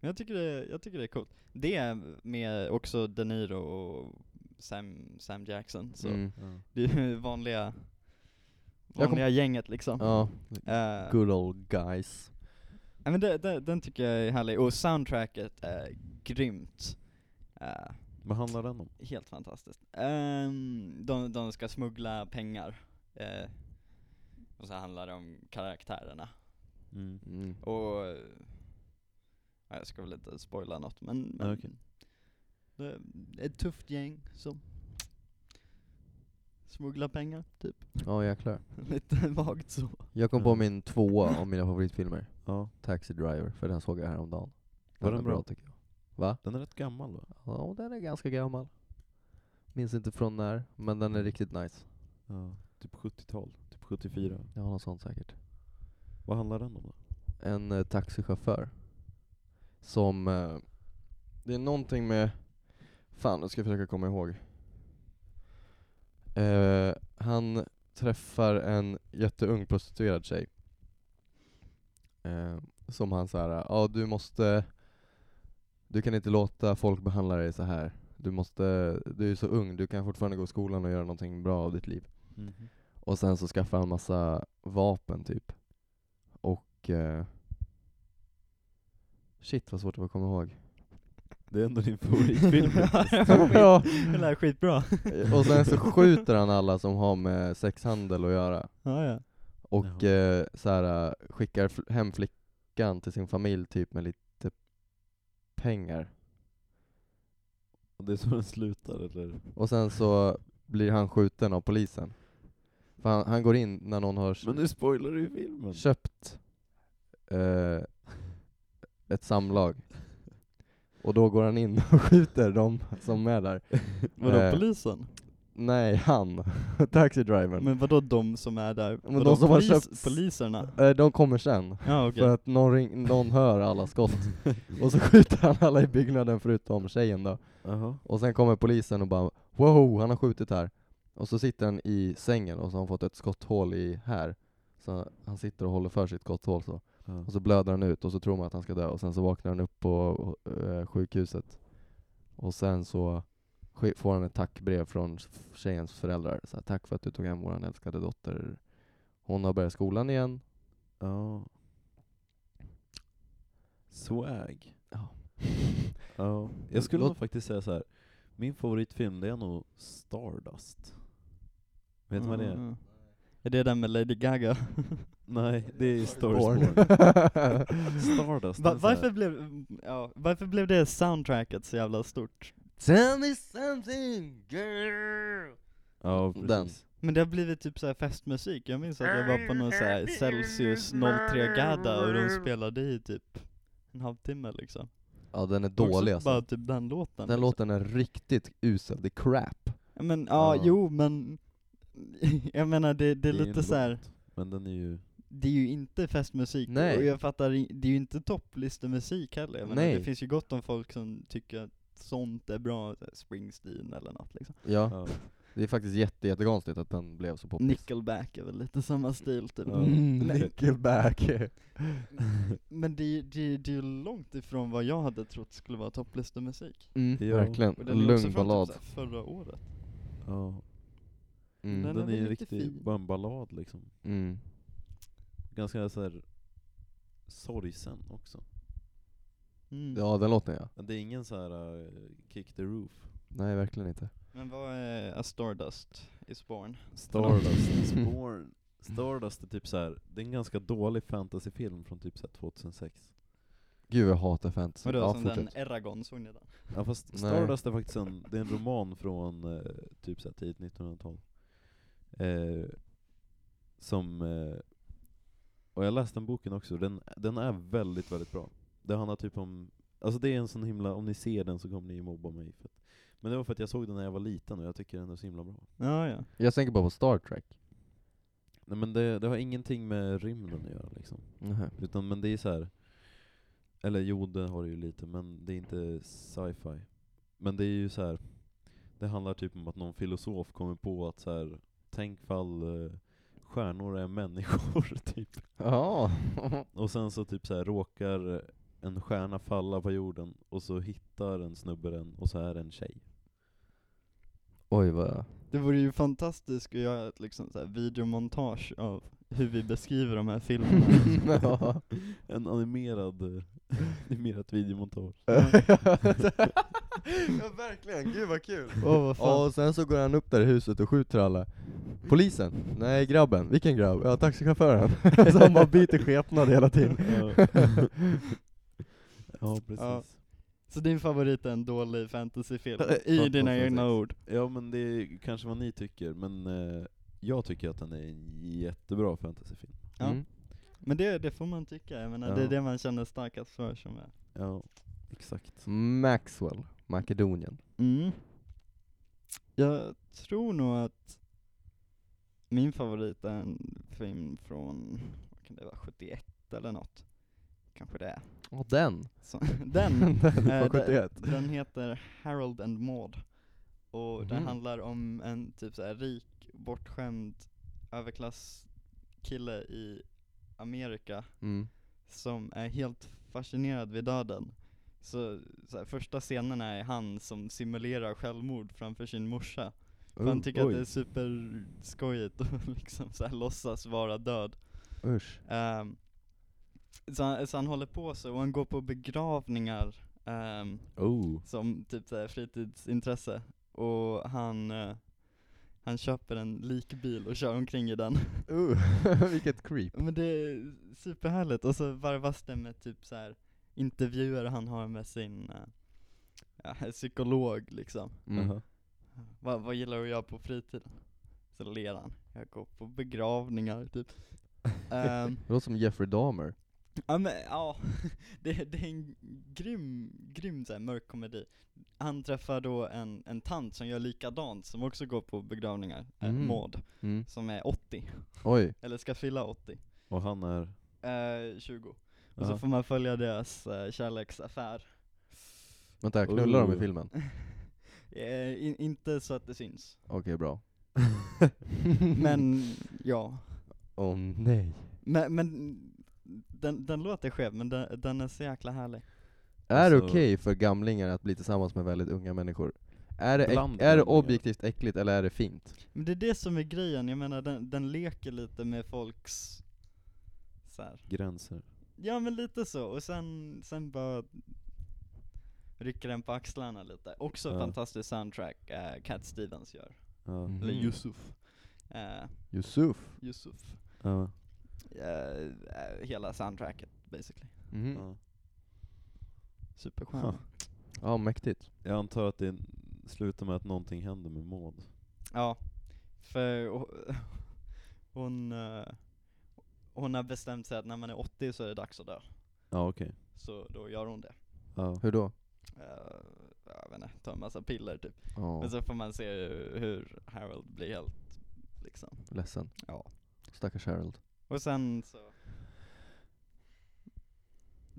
Men jag tycker det, jag tycker det är coolt. Det är med också De Niro och Sam, Sam Jackson, alltså. så Mm. Ja. det är ju vanliga, Jag kom- vanliga gänget liksom. Ja, Eh, good old guys. Ja men det, det, den tycker jag är härlig, och soundtracket är grymt. Eh, Vad handlar den om? helt fantastiskt. Ehm, de, de ska smuggla pengar, eh, och så handlar det om karaktärerna. Mm. Mm. Och... eh, ja, Jag ska väl inte spoila något men... men Ja, okej. det är ett tufft gäng som smugglar pengar, typ. Ja jäklar. Lite vagt så. Jag kom på Mm. min tvåa av mina favoritfilmer, Ja, Taxi Driver, för den såg jag häromdagen. Var den är bra? tycker jag. den är rätt gammal va? Ja, den är ganska gammal. Minns inte från när, men den är riktigt nice. Ja. Typ 70-tal, typ 74. Jag har något sånt säkert. Vad handlar den om då? en eh, taxichaufför som, eh, det är någonting med, fan nu ska jag försöka komma ihåg. Eh, han träffar en jätteung prostituerad tjej. Eh, som han såhär, ja ah, du måste, du kan inte låta folk behandla dig så här. Du måste, du är så ung, du kan fortfarande gå i skolan och göra någonting bra av ditt liv. Mm-hmm. Och sen så skaffar han massa vapen typ. Och... Eh... Shit vad svårt det var att komma ihåg. Det är ändå din favoritfilm. Ja. Det lär skitbra. Och sen så skjuter han alla som har med sexhandel att göra. Ja, ja. Och eh, så här, eh, skickar fl- hem flickan till sin familj typ med lite pengar. Och det är så den slutar eller? Och sen så blir han skjuten av polisen. För han, han går in när någon har Men nu spoilar du ju filmen! köpt eh, ett samlag. Och då går han in och skjuter de som är där. Vadå Eh, polisen? Nej, han. Taxidrivern. Men vadå de som är där? Men Vadå, de som har köpt- Poliserna? Eh, de kommer sen. Ja okej. För att någon, ring, någon hör alla skott. och så skjuter han alla i byggnaden förutom tjejen då. Jaha. Och sen kommer polisen och bara wow, han har skjutit här. Och så sitter han i sängen och så har han fått ett skotthål i här. Så han sitter och håller för sitt skotthål så. Ja. Och så blöder han ut och så tror man att han ska dö och sen så vaknar han upp på eh, sjukhuset. Och sen så sk- får han ett tackbrev från f- tjejens föräldrar. Så här, Tack för att du tog hem vår älskade dotter. Hon har börjat skolan igen. Ja. Swag. Ja. Ja. Jag skulle Låt- nog faktiskt säga så här. min favoritfilm det är nog Stardust. Vet du vad det är? Mm. Är det den med Lady Gaga? Nej, det är Stars Born. Born. Stardust. Va- den är så här- varför, blev, mm, ja, varför blev det soundtracket så jävla stort? Tell me something girl! Ja, Den. precis. Men det har blivit typ så här festmusik, jag minns att jag var på någon så här Celsius 03 Gada och de spelade i typ en halvtimme liksom. Ja den är Och dålig så Bara alltså. typ den låten. Den liksom. låten är riktigt usel, det är crap. Ja, Men ja, Ja. jo men jag menar det, det är ju lite en så här. låt, Men den är ju... det är ju inte festmusik Nej. och jag fattar, i- det är ju inte topplistormusik heller. Jag menar, Nej. det finns ju gott om folk som tycker att sånt är bra, så här Springsteen eller något liksom. Ja. Ja. Det är faktiskt jätte, jättekonstigt att den blev så poppis. Nickelback är väl lite samma stil typ. Ja. Mm, Nej. Nickelback. Men det, är ju- det, är- det är ju långt ifrån vad jag hade trott skulle vara topplistormusik. Mm, Ja. Verkligen, Och den är också lugn från ballad. Typ så här förra året. ja. Mm. Den Den, är är väl ju lite fin. riktigt, bara en ballad liksom. Mm. Ganska så här sorgsen också. Mm. Ja den låten ja. Men det är ingen så här eh, kick the roof. Nej verkligen inte. Men vad är A Stardust is born? Stardust is Mm. born. Stardust är typ så här. det är en ganska dålig fantasyfilm från typ så här 2006. Gud jag hatar fantasy. Vadå, Ja, som fortsätt. den Eragon, såg ni den? Ja fast Nej. Stardust är faktiskt en, det är en roman från eh, typ såhär tidigt 1912. Eh, som, eh, och jag läste den boken också, den, den är väldigt väldigt bra. Det handlar typ om, alltså det är en sån himla, om ni ser den så kommer ni ju mobba mig. För att, men det var för att jag såg den när jag var liten och jag tycker den är så himla bra. Ja, ja. Jag tänker bara på Star Trek. Nej men det, det har ingenting med rymden att göra liksom. Utan men det är så här. Eller jo, det har det ju lite, men det är inte sci-fi. Men det är ju så här. Det handlar typ om att någon filosof kommer på att så här. Tänk fall eh, stjärnor är människor, typ. Ja. Och sen så typ så här råkar en stjärna falla på jorden, och så hittar en snubbe den, och så är det en tjej. Oj vad... Det vore ju fantastiskt att göra ett liksom så här videomontage av hur vi beskriver de här filmerna. Ja. En animerad, eh, animerat videomontage. ja verkligen, gud vad kul! Åh vad Ja, fan. och sen så går han upp där i huset och skjuter alla. Polisen? Nej, grabben. Vilken grabb? Ja, taxichauffören. så han bara byter skepnad hela tiden. ja. ja, precis. Ja. Så din favorit är en dålig fantasyfilm, i Fast- dina fast- egna ord. Ja men det är kanske vad ni tycker, men eh, jag tycker att den är en jättebra fantasyfilm. Ja. Mm. Men det, det får man tycka, jag menar, det är Ja. det man känner starkast för som är. Ja, exakt. Maxwell, Makedonien. Mm. Jag tror nog att min favorit är en film från, vad kan det vara, 71 eller något. Kanske det är. Och den. Så, den! Den eh, var den- 71. Den heter Harold and Maud. Och den Mhm. handlar om en typ så här rik, bortskämd överklasskille i Amerika Mm. som är helt fascinerad vid döden. Så, så här, första scenen är han som simulerar självmord framför sin morsa. För han Oh, tycker oj. att det är superskojigt att liksom så här låtsas vara död. Usch. Ehm, så, han, så han håller på så, och han går på begravningar ehm, Oh. som typ så här fritidsintresse. Och han, eh, han köper en likbil och kör omkring i den. Uh, vilket creep. Men det är superhärligt, och så varvas det med typ så här intervjuer han har med sin eh, ja, psykolog liksom. Mm. Aha. Vad, vad gillar du att göra på fritiden? Så ler han. Jag går på begravningar typ. Ehm, Det låter som Jeffrey Dahmer. ja men ja, det, det är en grym, grym så här, mörk komedi. Han träffar då en, en tant som gör likadant, som också går på begravningar, eh, Mm. Maud, Mm. som är 80, Oj. eller ska fylla 80, Och han är... eh, 20. Och så Ja. får man följa deras eh, kärleksaffär. Vänta, knullar de i Oh. filmen? Eh, in, inte så att det syns. Okej, bra. Men ja. Åh nej. Men, men den, den låter skev men den, den är så jäkla härlig. Är det Alltså- okej för gamlingar att bli tillsammans med väldigt unga människor? Är det, Bland äck, är det gamlingar. objektivt äckligt eller är det fint? Men det är det som är grejen, jag menar den, den leker lite med folks så här. Gränser. Ja men lite så, och sen, sen bara rycker den på axlarna lite. Också Ja. fantastisk soundtrack eh, Cat Stevens gör. Ja. Mm. Eller Yusuf. Eh, Yusuf? Yusuf. Ja. Eh, eh, hela soundtracket basically. Mhm. Ja. Superstjärna. Huh. Ja, mäktigt. Jag antar att det slutar med att någonting händer med Maud. Ja, För ho- hon, eh, hon har bestämt sig att när man är 80 så är det dags att dö. Ja okej. Så då gör hon det. Ja. Hur då? Eh, jag vet inte, tar en massa piller typ. Ja, Men så får man se hur, hur Harold blir helt liksom. ledsen. Ja. Stackars Harold. Och sen så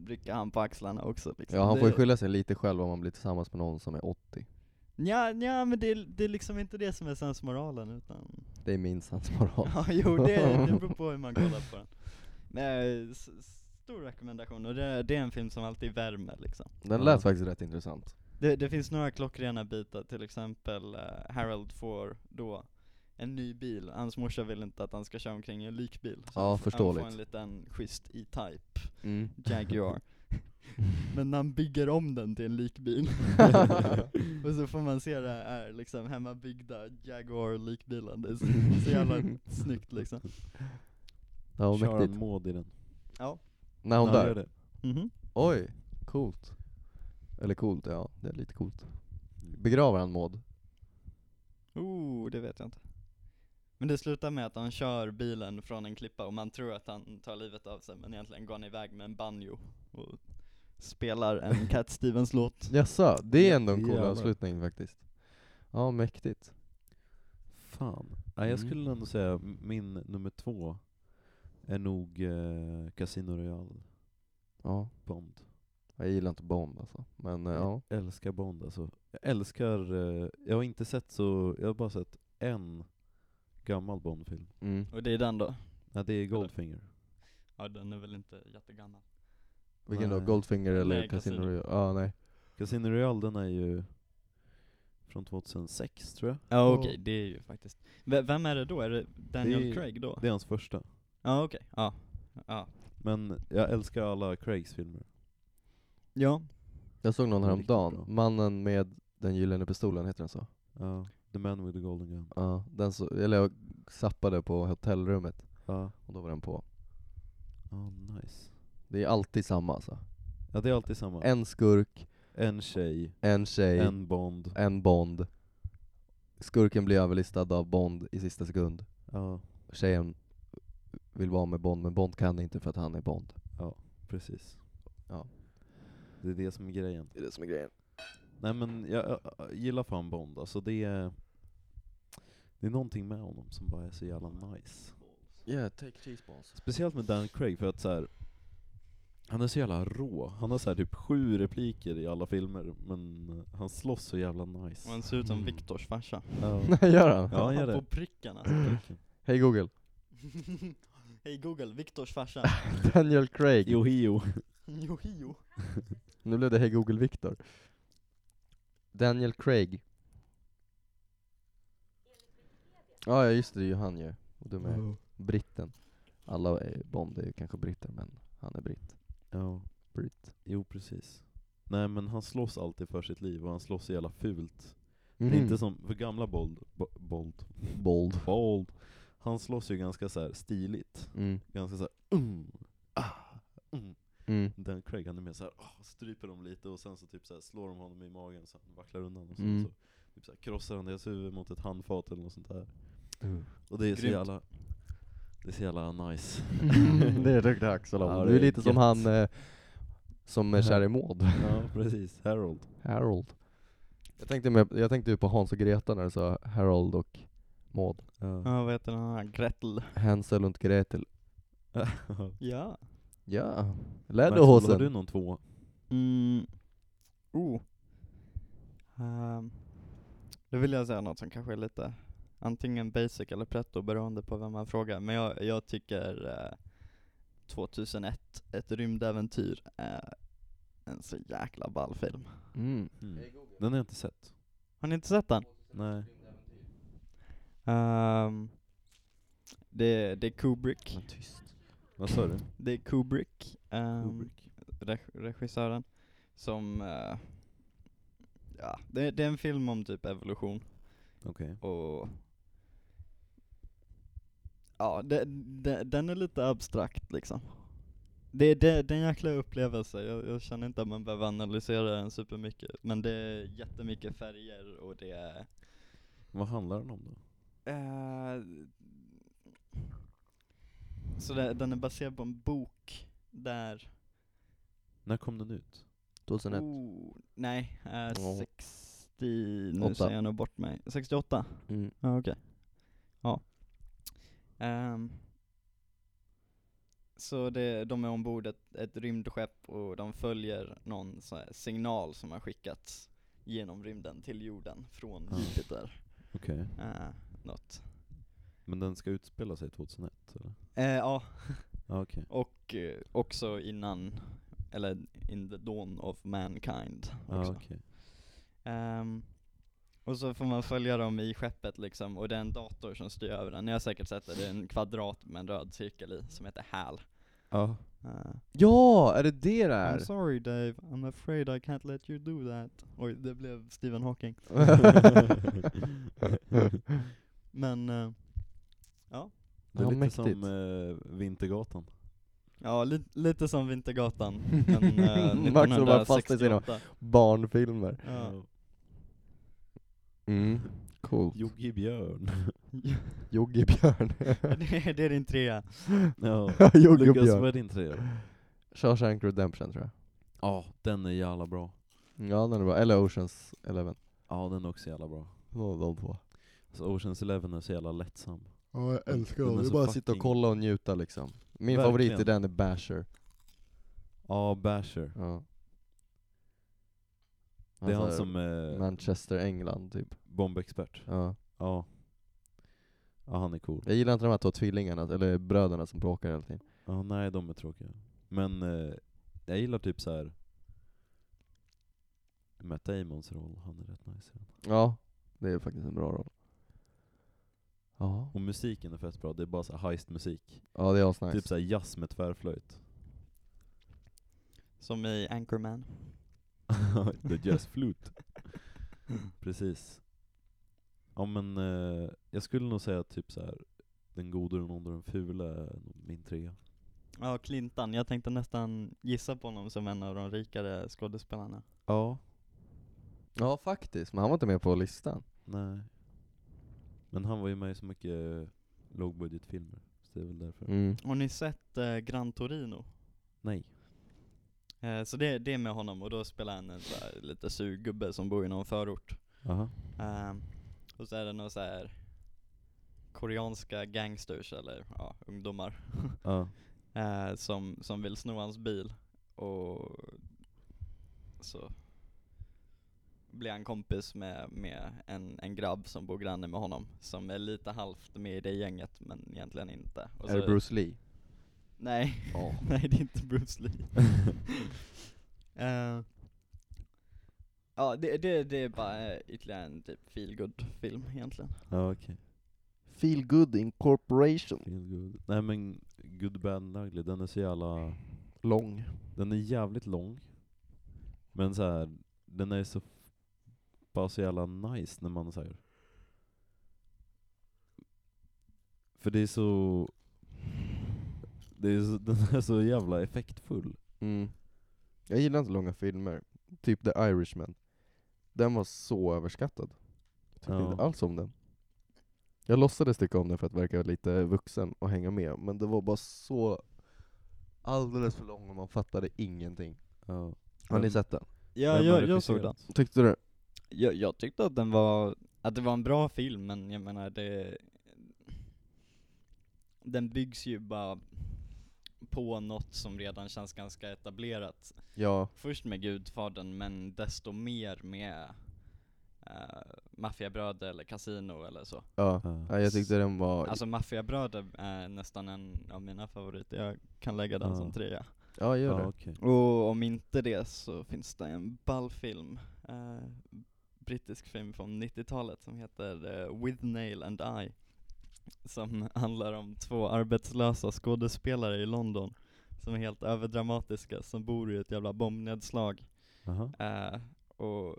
rycker han på axlarna också liksom. Ja, han får ju Det- skylla sig lite själv om man blir tillsammans med någon som är 80. Nja, nja men det, är- det är liksom inte det som är sensmoralen utan Det är minst hans moral. Ja, jo det, det beror på hur man kollar på den. Men, eh, s- stor rekommendation och det, det är en film som alltid värmer liksom. Den Ja. lät faktiskt rätt intressant. Det, det finns några klockrena bitar, till exempel eh, Harold får då en ny bil, hans morsa vill inte att han ska köra omkring i en likbil. Så Ja, han f- förståeligt. Han får en liten schysst E-Type Jaguar. Men han bygger om den till en likbil. och så får man se det här liksom hemmabyggda Jaguar-likbilen, det är så, så jävla snyggt liksom. Ja, Kör han mäktigt. Maud i den. Ja. När hon Ja, han gör dör. det. Mhm. Oj, coolt. Eller coolt, ja. Det är lite coolt. Begraver han Maud? Oh, det vet jag inte. Men det slutar med att han kör bilen från en klippa och man tror att han tar livet av sig men egentligen går han iväg med en banjo och spelar en Cat Stevens-låt. Jaså, det är ändå en cool Jävlar. avslutning faktiskt. Ja, mäktigt. Fan. Ja, jag skulle Mm. ändå säga m- min nummer två är nog eh, Casino Royale, Ja, Bond. jag gillar inte Bond alltså. Men eh, ja. Jag älskar Bond alltså. Jag älskar, eh, jag har inte sett så, jag har bara sett en gammal Bond-film. Mm. Och det är den då? Nej det är Goldfinger. Ja, den är väl inte jättegammal. Vilken då? Nej. Goldfinger eller Nej, Casino Casino. Royale? Ja, nej. Casino Royale den är ju från 2006 tror jag. Ja Ja. okej, det är ju faktiskt. V- vem är det då? Är Oh. det Daniel Det är- Craig då? Det är hans första. Ja okej, ja. Ja. Men jag älskar alla Craigs filmer. Ja. Jag såg någon Den är riktigt häromdagen, bra. Mannen med den gyllene pistolen, heter den så? Ja, The Man with the Golden Gun. Ja, den så, eller jag zappade på hotellrummet Ja, och då var den på. Ja, nice. Det är alltid samma alltså. Ja det är alltid samma. En, En skurk, tjej, en tjej, en, en Bond. Bond. Skurken blir överlistad av Bond i sista sekund. Ja, Tjejen vill vara med Bond, men Bond kan inte för att han är Bond. precis. Ja. Det är det som är grejen. Det är det som är grejen. Nej men jag, jag, jag gillar fan Bond, alltså det är Det är någonting med honom som bara är så jävla nice Yeah, take cheese balls. Speciellt med Dan Craig för att så här. Han är så jävla rå, han har så här typ sju repliker i alla filmer men eh, han slåss så jävla Och nice han ser ut som Mm. Viktors farsa. Ja, Nej, gör han? ja han gör På det pricken alltså. Hej Google. Hej Google, Viktors farsa. Daniel Craig. Jo hio Johio. Nu blev det Hej Google Viktor. Daniel Craig. Ja, ah, ja just det, det är ju han ju. Och de är britten. Alla är, Bond är ju kanske britter, men han är britt. Ja, Britt. jo precis Nej men han slåss alltid för sitt liv och han slåss så jävla fult Det Mm. är inte som, för gamla Bold, Bo- Bold, Bold. Bold Han slåss ju ganska så här stiligt Mm. ganska såhär mm, ah, mm. Mm. Dan Craig han är mer såhär, ah, stryper dem lite och sen så typ såhär, slår de honom i magen så han vacklar undan och sen Mm. så typ såhär, krossar han deras huvud mot ett handfat eller något sånt där Uh. Och det är så Grymt. jävla, det är så jävla nice Mm, Mm. det är riktigt axel Ja, Du det är är lite som gött. han eh, som är kär i Maud. Ja precis, Harold Harold. Jag tänkte, med, jag tänkte ju på Hans och Greta när du sa Harold och Maud. Ja, Ja, vad heter den här? Gretel. Hänsel och Gretel. Ja. Ja. Max, har Läderhosen. du någon tvåa? Mm. Oh. Ehm, då vill jag säga något som kanske är lite antingen basic eller pretto beroende på vem man frågar. Men jag, jag tycker eh, 2001, ett rymdäventyr, är en så jäkla ball film. Mm. Mm. Den har jag inte sett Har ni inte sett den? Nej, Ehm, det, det är Kubrick. Mm. vad sa du? Mm. Det är Kubrick. ehm, Kubrick. reg- regissören. Som, eh, ja, det, det är en film om typ evolution Okej, och Ja, det, det, den är lite abstrakt liksom. Det, det, det är en jäkla upplevelse, jag, jag känner inte att man behöver analysera den supermycket. Men det är jättemycket färger och det är vad handlar den om då? Eh, så det, den är baserad på en bok där... När kom den ut? 2001. Oh, nej, eh, Ja. 60... Nu Åtta. säger jag nog bort mig. 68? Mm. Ja, okej. Ja. Ehm, så det, de är ombord ett, ett rymdskepp och de följer någon så här signal som har skickats genom rymden till jorden från Ja. Jupiter. Okej. Uh, något. Men den ska utspela sig 2001 eller? Eh, ja, Ja okej. och eh, också innan, eller in the dawn of mankind Ja också. okej. Ehm, och så får man följa dem i skeppet liksom, och det är en dator som styr över den. Ni har säkert sett det, det är en kvadrat med en röd cirkel i, som heter HAL. Ja. Eh, ja, är det det det I'm är? sorry Dave, I'm afraid I can't let you do that. Oj, det blev Stephen Hawking. Men, eh, Det är Ja, lite mäktigt. som eh, Vintergatan. ja li- lite som Vintergatan. Men, eh, Max har varit fast i sina- 1968. Barnfilmer. Ja. Mm. Coolt. Jogge Björn. Joggebjörn. det, det är din trea. ja. Lyckas Joggebjörn. med din trea. Shawshank Redemption tror jag. Ja, den är jävla bra. Ja den är bra, eller Oceans Eleven. Ja den är också jävla bra. Någon av de två. Så Oceans Eleven är så jävla lättsam. Ja jag älskar dem. Det Det är är bara så att sitta och fucking- kolla och njuta liksom. Min Verkligen. favorit i den är Basher. Ja, Basher. Ja. Det är han så här, som eh, Manchester, England typ. bombexpert. Ja. Ja. Ja, han är cool. Jag gillar inte de här två tvillingarna, eller bröderna som bråkar hela tiden. Ja, nej de är tråkiga. Men eh, jag gillar typ så här. Matt Damons roll, han är rätt nice. i den. Ja. Det är faktiskt en bra roll. Ja. Och musiken är fett bra, det är bara så här heist-musik. Ja det är asnice. Typ så här jazz med tvärflöjt. Som i Anchorman. The jazz flute. Precis. Ja men eh, jag skulle nog säga typ så här. Den gode, den onde, den fule är nog min trea. Ja, Clintan. Jag tänkte nästan gissa på honom som en av de rikare skådespelarna. Ja. Ja faktiskt, men han var inte med på listan. Nej. Men han var ju med i så mycket eh, lågbudgetfilmer, så det är väl därför. Mm. Har ni sett eh, Gran Torino? Nej. Eh, så det, det är med honom och då spelar han en så här, lite surgubbe som bor i någon förort. Aha. Eh, och så är det några så här koreanska gangsters eller ja, ungdomar Ja. eh, som, som vill sno hans bil och så blir han kompis med, med en, en grabb som bor granne med honom som är lite halvt med i det gänget men egentligen inte. Och Alltså, Är det så- Bruce Lee? Nej, nej det är inte Bruce Lee. Eh, ja, det, det, det är bara eh, ytterligare en typ feel good film egentligen. Ja okej. Feel Good Incorporation. Feel good. Nej men Good Bad and Ugly, den är så jävla... Lång. Den är jävligt lång. Men så här, den är så... Bara så jävla nice när man säger. För det är så... Det är så den är så jävla effektfull. Mm. Jag gillar inte långa filmer. Typ The Irishman. Den var så överskattad. Jag tyckte Ja. inte alls om den. Jag låtsades tycka om den för att verka lite vuxen och hänga med, men det var bara så alldeles för lång och man fattade ingenting. Ja. Har ni Men- sett den? Ja, Vem har jag, jag såg regisserat? den. Tyckte du? Jag, jag tyckte att den var, att det var en bra film men jag menar det Den byggs ju bara på något som redan känns ganska etablerat. Ja. Först med Gudfadern men desto mer med uh, Maffiabröder eller Casino eller så. ja. Ja. ja jag tyckte den var... Alltså Maffiabröder är nästan en av mina favoriter, jag kan lägga den Ja. som trea. ja, gör Ja, det. okej. Och om inte det så finns det en ballfilm, eh, brittisk film från 90-talet som heter eh, With Nail and I. Som handlar om två arbetslösa skådespelare i London som är helt överdramatiska, som bor i ett jävla bombnedslag. Aha. Eh, och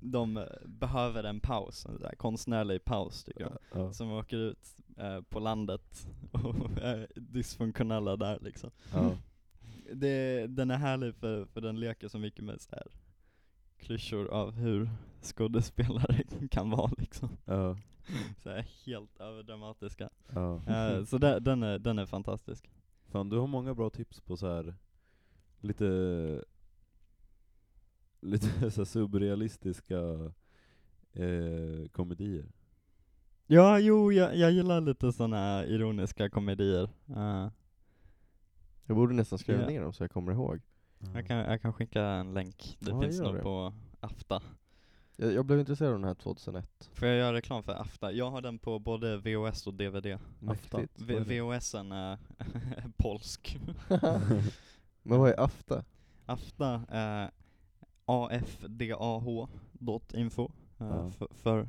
de eh, behöver en paus, en sån där konstnärlig paus tycker de Ja. som åker ut eh, på landet och är dysfunktionella där liksom. Ja. Det, den är härlig för, för den leker så mycket med så här klyschor av hur skådespelare kan vara liksom. Ja. så här, helt överdramatiska. Ja. Eh, så där, den, är, den är fantastisk. Fan, du har många bra tips på så här lite lite så här subrealistiska eh, komedier. Ja, jo, jag, jag gillar lite sådana ironiska komedier. Eh, Jag borde nästan skriva Ja. ner dem så jag kommer ihåg. jag, kan, jag kan skicka en länk, det Ja, finns gör nog det. på Afta. Jag, jag blev intresserad av den här 2001. Får jag göra reklam för Afta? Jag har den på både VHS och DVD. Afta. Mäktigt. V- VHSen är polsk. Men vad är afta? Afta eh, afdah.info eh, Ja. för, för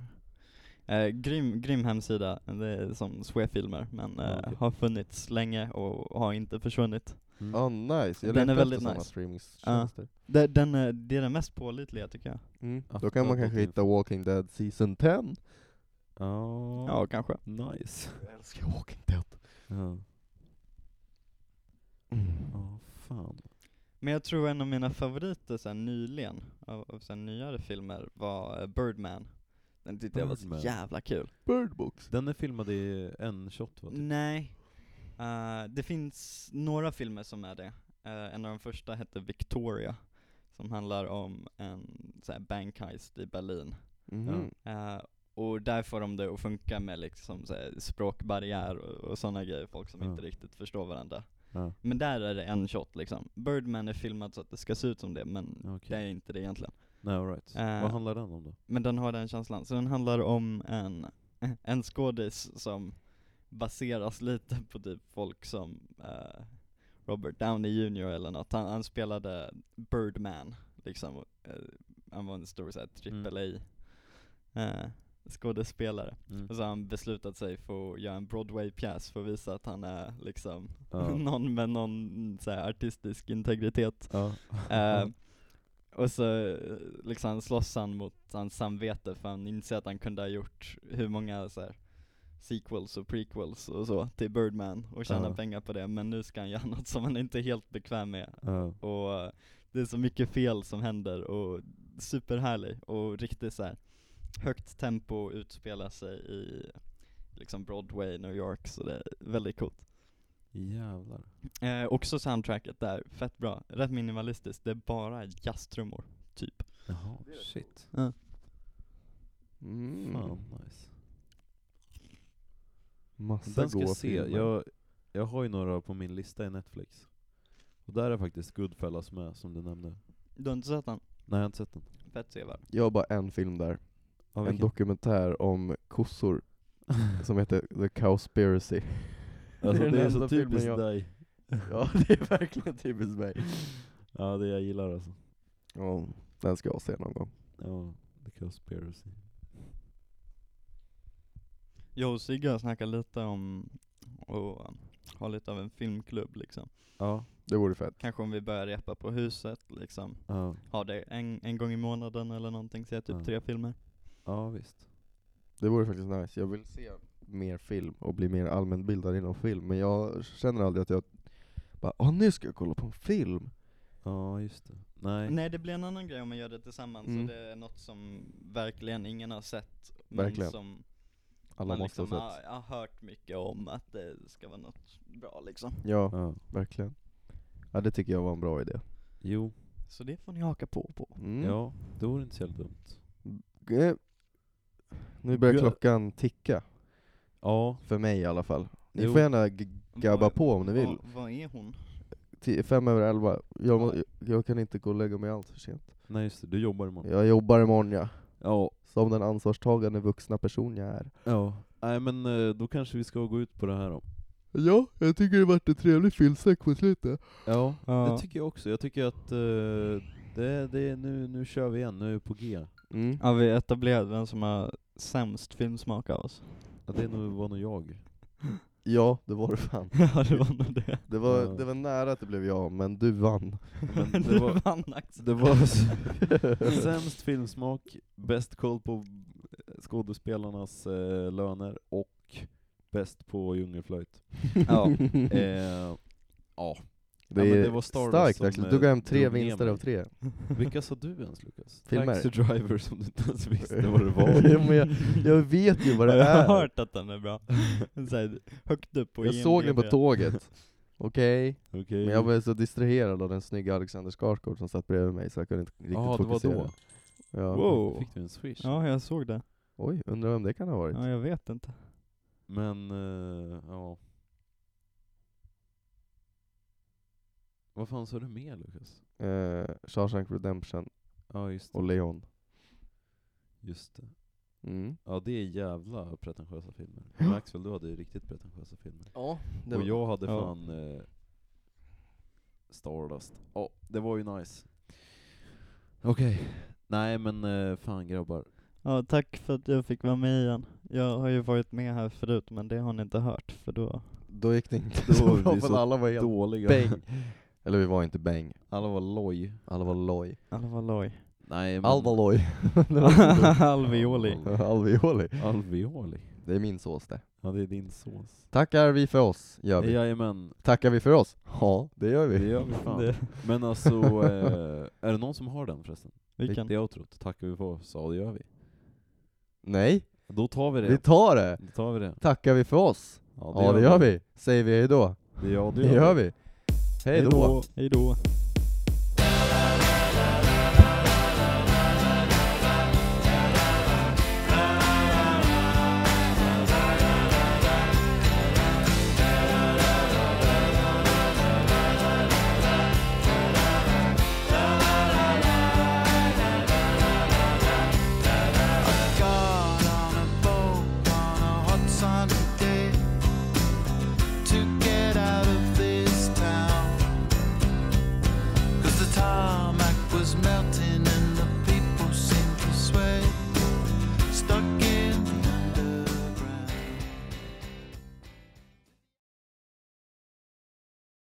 eh, grym, grym hemsida, det är som Swefilmer men eh, Ja, okej. har funnits länge och har inte försvunnit. Mm. Ja, Ah, nice. Jag Den är letar efter väldigt såna nice. streamingtjänster. Det, den är, det är den mest pålitliga tycker jag. Mm. Då Afta kan man kanske Botniff. hitta Walking Dead Season 10. Ja. Ja, kanske. Nice. Jag älskar Walking Dead. Ja. Mm. Ja, fan. Men jag tror en av mina favoriter sen nyligen, av, av sen nyare filmer, var eh, Birdman. Den tyckte jag var Birdman. så jävla kul. Birdbox. Den är filmad i en shot va? Mm. Typ. Nej. Eh, det finns några filmer som är det. Eh, en av de första hette Victoria, som handlar om en så här, bankheist i Berlin. Mhm. Eh, och där får de det att funka med liksom så här, språkbarriär och, och sådana grejer, folk som Ja. inte riktigt förstår varandra. Ja. Men där är det en shot liksom. Birdman är filmad så att det ska se ut som det, men det är inte det egentligen. Nej, all right. Eh. Vad handlar den om då? Men den har den känslan. Så den handlar om en, en skådis som baseras lite på typ folk som eh, Robert Downey Jr eller något. Han, han spelade Birdman, liksom. och, eh, han var en stor såhär triple A eh, skådespelare. Mm. Och så har han beslutat sig för att göra en Broadway-pjäs för att visa att han är liksom Ja. någon med någon så här, artistisk integritet. Ja. Eh, och så eh, liksom slåss han mot hans samvete för han inser att han kunde ha gjort hur många så här, sequels och prequels och så till Birdman och tjäna Ja. pengar på det men nu ska han göra något som han inte är helt bekväm med Ja. och eh, det är så mycket fel som händer och superhärlig och riktigt så här högt tempo utspelar sig i liksom Broadway, New York så det är väldigt coolt. Jävlar. Eh, också soundtracket där, fett bra. Rätt minimalistiskt, det är bara jazztrummor, typ. Jaha, shit. Mm. Fan, nice. Massa Den ska goa jag se. filmer. Jag, jag har ju några på min lista i Netflix. Och där är faktiskt Goodfellas med, som du nämnde. Du har inte sett den? Nej, jag har inte sett den. Fett sevärd. jag har bara en film där. Ja, en dokumentär om kossor som heter The Cowspiracy. alltså, det är det är den så enda filmen typiskt jag- dig. ja, det är verkligen typiskt mig. Ja, det jag gillar alltså. Ja, den ska jag se någon gång. Ja, The Conspiracy. Jag och Sigge har snackat lite om att ha lite av en filmklubb liksom. Ja, Det vore fett. Kanske om vi börjar repa på huset liksom. ja, Ha det en, en gång i månaden eller någonting, se typ Ja. tre filmer. ja visst. Det vore faktiskt nice. Jag vill se mer film och bli mer allmänbildad inom film, men jag känner aldrig att jag bara åh nu ska jag kolla på en film. Ja, just det. Nej. Nej det blir en annan grej om man gör det tillsammans Mm. och det är något som verkligen ingen har sett. Men Verkligen. som Alla man måste liksom ha har, sett. har hört mycket om att det ska vara något bra liksom. Ja, Ja. verkligen. Ja det tycker jag var en bra idé. Jo, Så det får ni haka på på. Mm. ja, det vore inte så jävla dumt. Eh, Nu börjar Gö- klockan ticka, Ja, för mig i alla fall. Ni Jo. får gärna g- gabba Vad- på om ni vill. Vad, vad är hon? Ti- Fem över elva. Jag, må, jag kan inte gå och lägga mig allt för sent. nej just det, du jobbar imorgon. Jag jobbar imorgon ja. Ja, Som den ansvarstagande vuxna person jag är. ja. Nej men eh, då kanske vi ska gå ut på det här då. Ja, jag tycker det vart en trevlig fyllsäck på slutet. Ja, Ja. det tycker jag också. Jag tycker att eh, det, det, nu, nu kör vi igen, nu är vi på G. Mm. Ja vi etablerade vem som har sämst filmsmak av oss. Ja, det är nog, var nog jag. Ja, det var det fan. ja det var nog det. Det var, Ja. det var nära att det blev jag, men du vann. Men du det var, vann Axel. det var s- sämst filmsmak, bäst koll på eh, skådespelarnas eh, löner och bäst på djungelflöjt. Ja. Eh, ja, Det Ja, eh, men är det var Stardust starkt som, verkligen. eh, Du gav hem tre drog ner vinster mig. av tre. Vilka sa du ens Lukas? Filmer. Taxi Driver som du inte ens visste vad det var. Ja, men jag, jag vet ju vad det jag är. har hört att den är bra. Så här, högt upp på jag såg den på IMDb. tåget. Okej, Okej. men jag blev så distraherad av den snygga Alexander Skarsgård som satt bredvid mig så jag kunde inte riktigt Ja, det var fokusera. då. Ja. Wow. Fick du en swish? Ja, jag såg det. Oj, undrar vem det kan ha varit? Ja, jag vet inte. Men, eh, ja. Vad fan sa du mer Lukas? Eh, Shawshank Redemption Ja just det. och Leon. Just det. Mm. Ja det är jävla pretentiösa filmer. Maxwell du hade ju riktigt pretentiösa filmer. Ja, Och jag hade ja. fan eh, Stardust. Ja, det var ju nice. Okej. Nej men eh, fan grabbar. Ja, tack för att jag fick vara med igen. Jag har ju varit med här förut, men det har ni inte hört, för då... Då gick det inte Då var så vi bra för så alla var helt Dåliga. bäng. Eller vi var inte bäng, Alla var loj. alla var loj. Alla var loj. Nej men... Alla var loj. Alveoli. Alveoli. Alveoli. Det är min sås det. Ja det är din sås. Tackar vi för oss, gör vi. Jajamän, Tackar vi för oss? Ja, det gör det vi. gör vi fan. Det- Men alltså, eh, är det någon som har den förresten? Vilken? Det outrot, tackar vi för oss, ja det gör vi. Nej, Då tar vi det. vi tar det. Då tar vi det. Tackar vi för oss? Ja Ja, det gör vi. Säger vi hej då? Det gör, Det gör vi. Hej då. Hej då. got on a boat on a hot sunny day to get out of this town. Cause the tarmac was melting and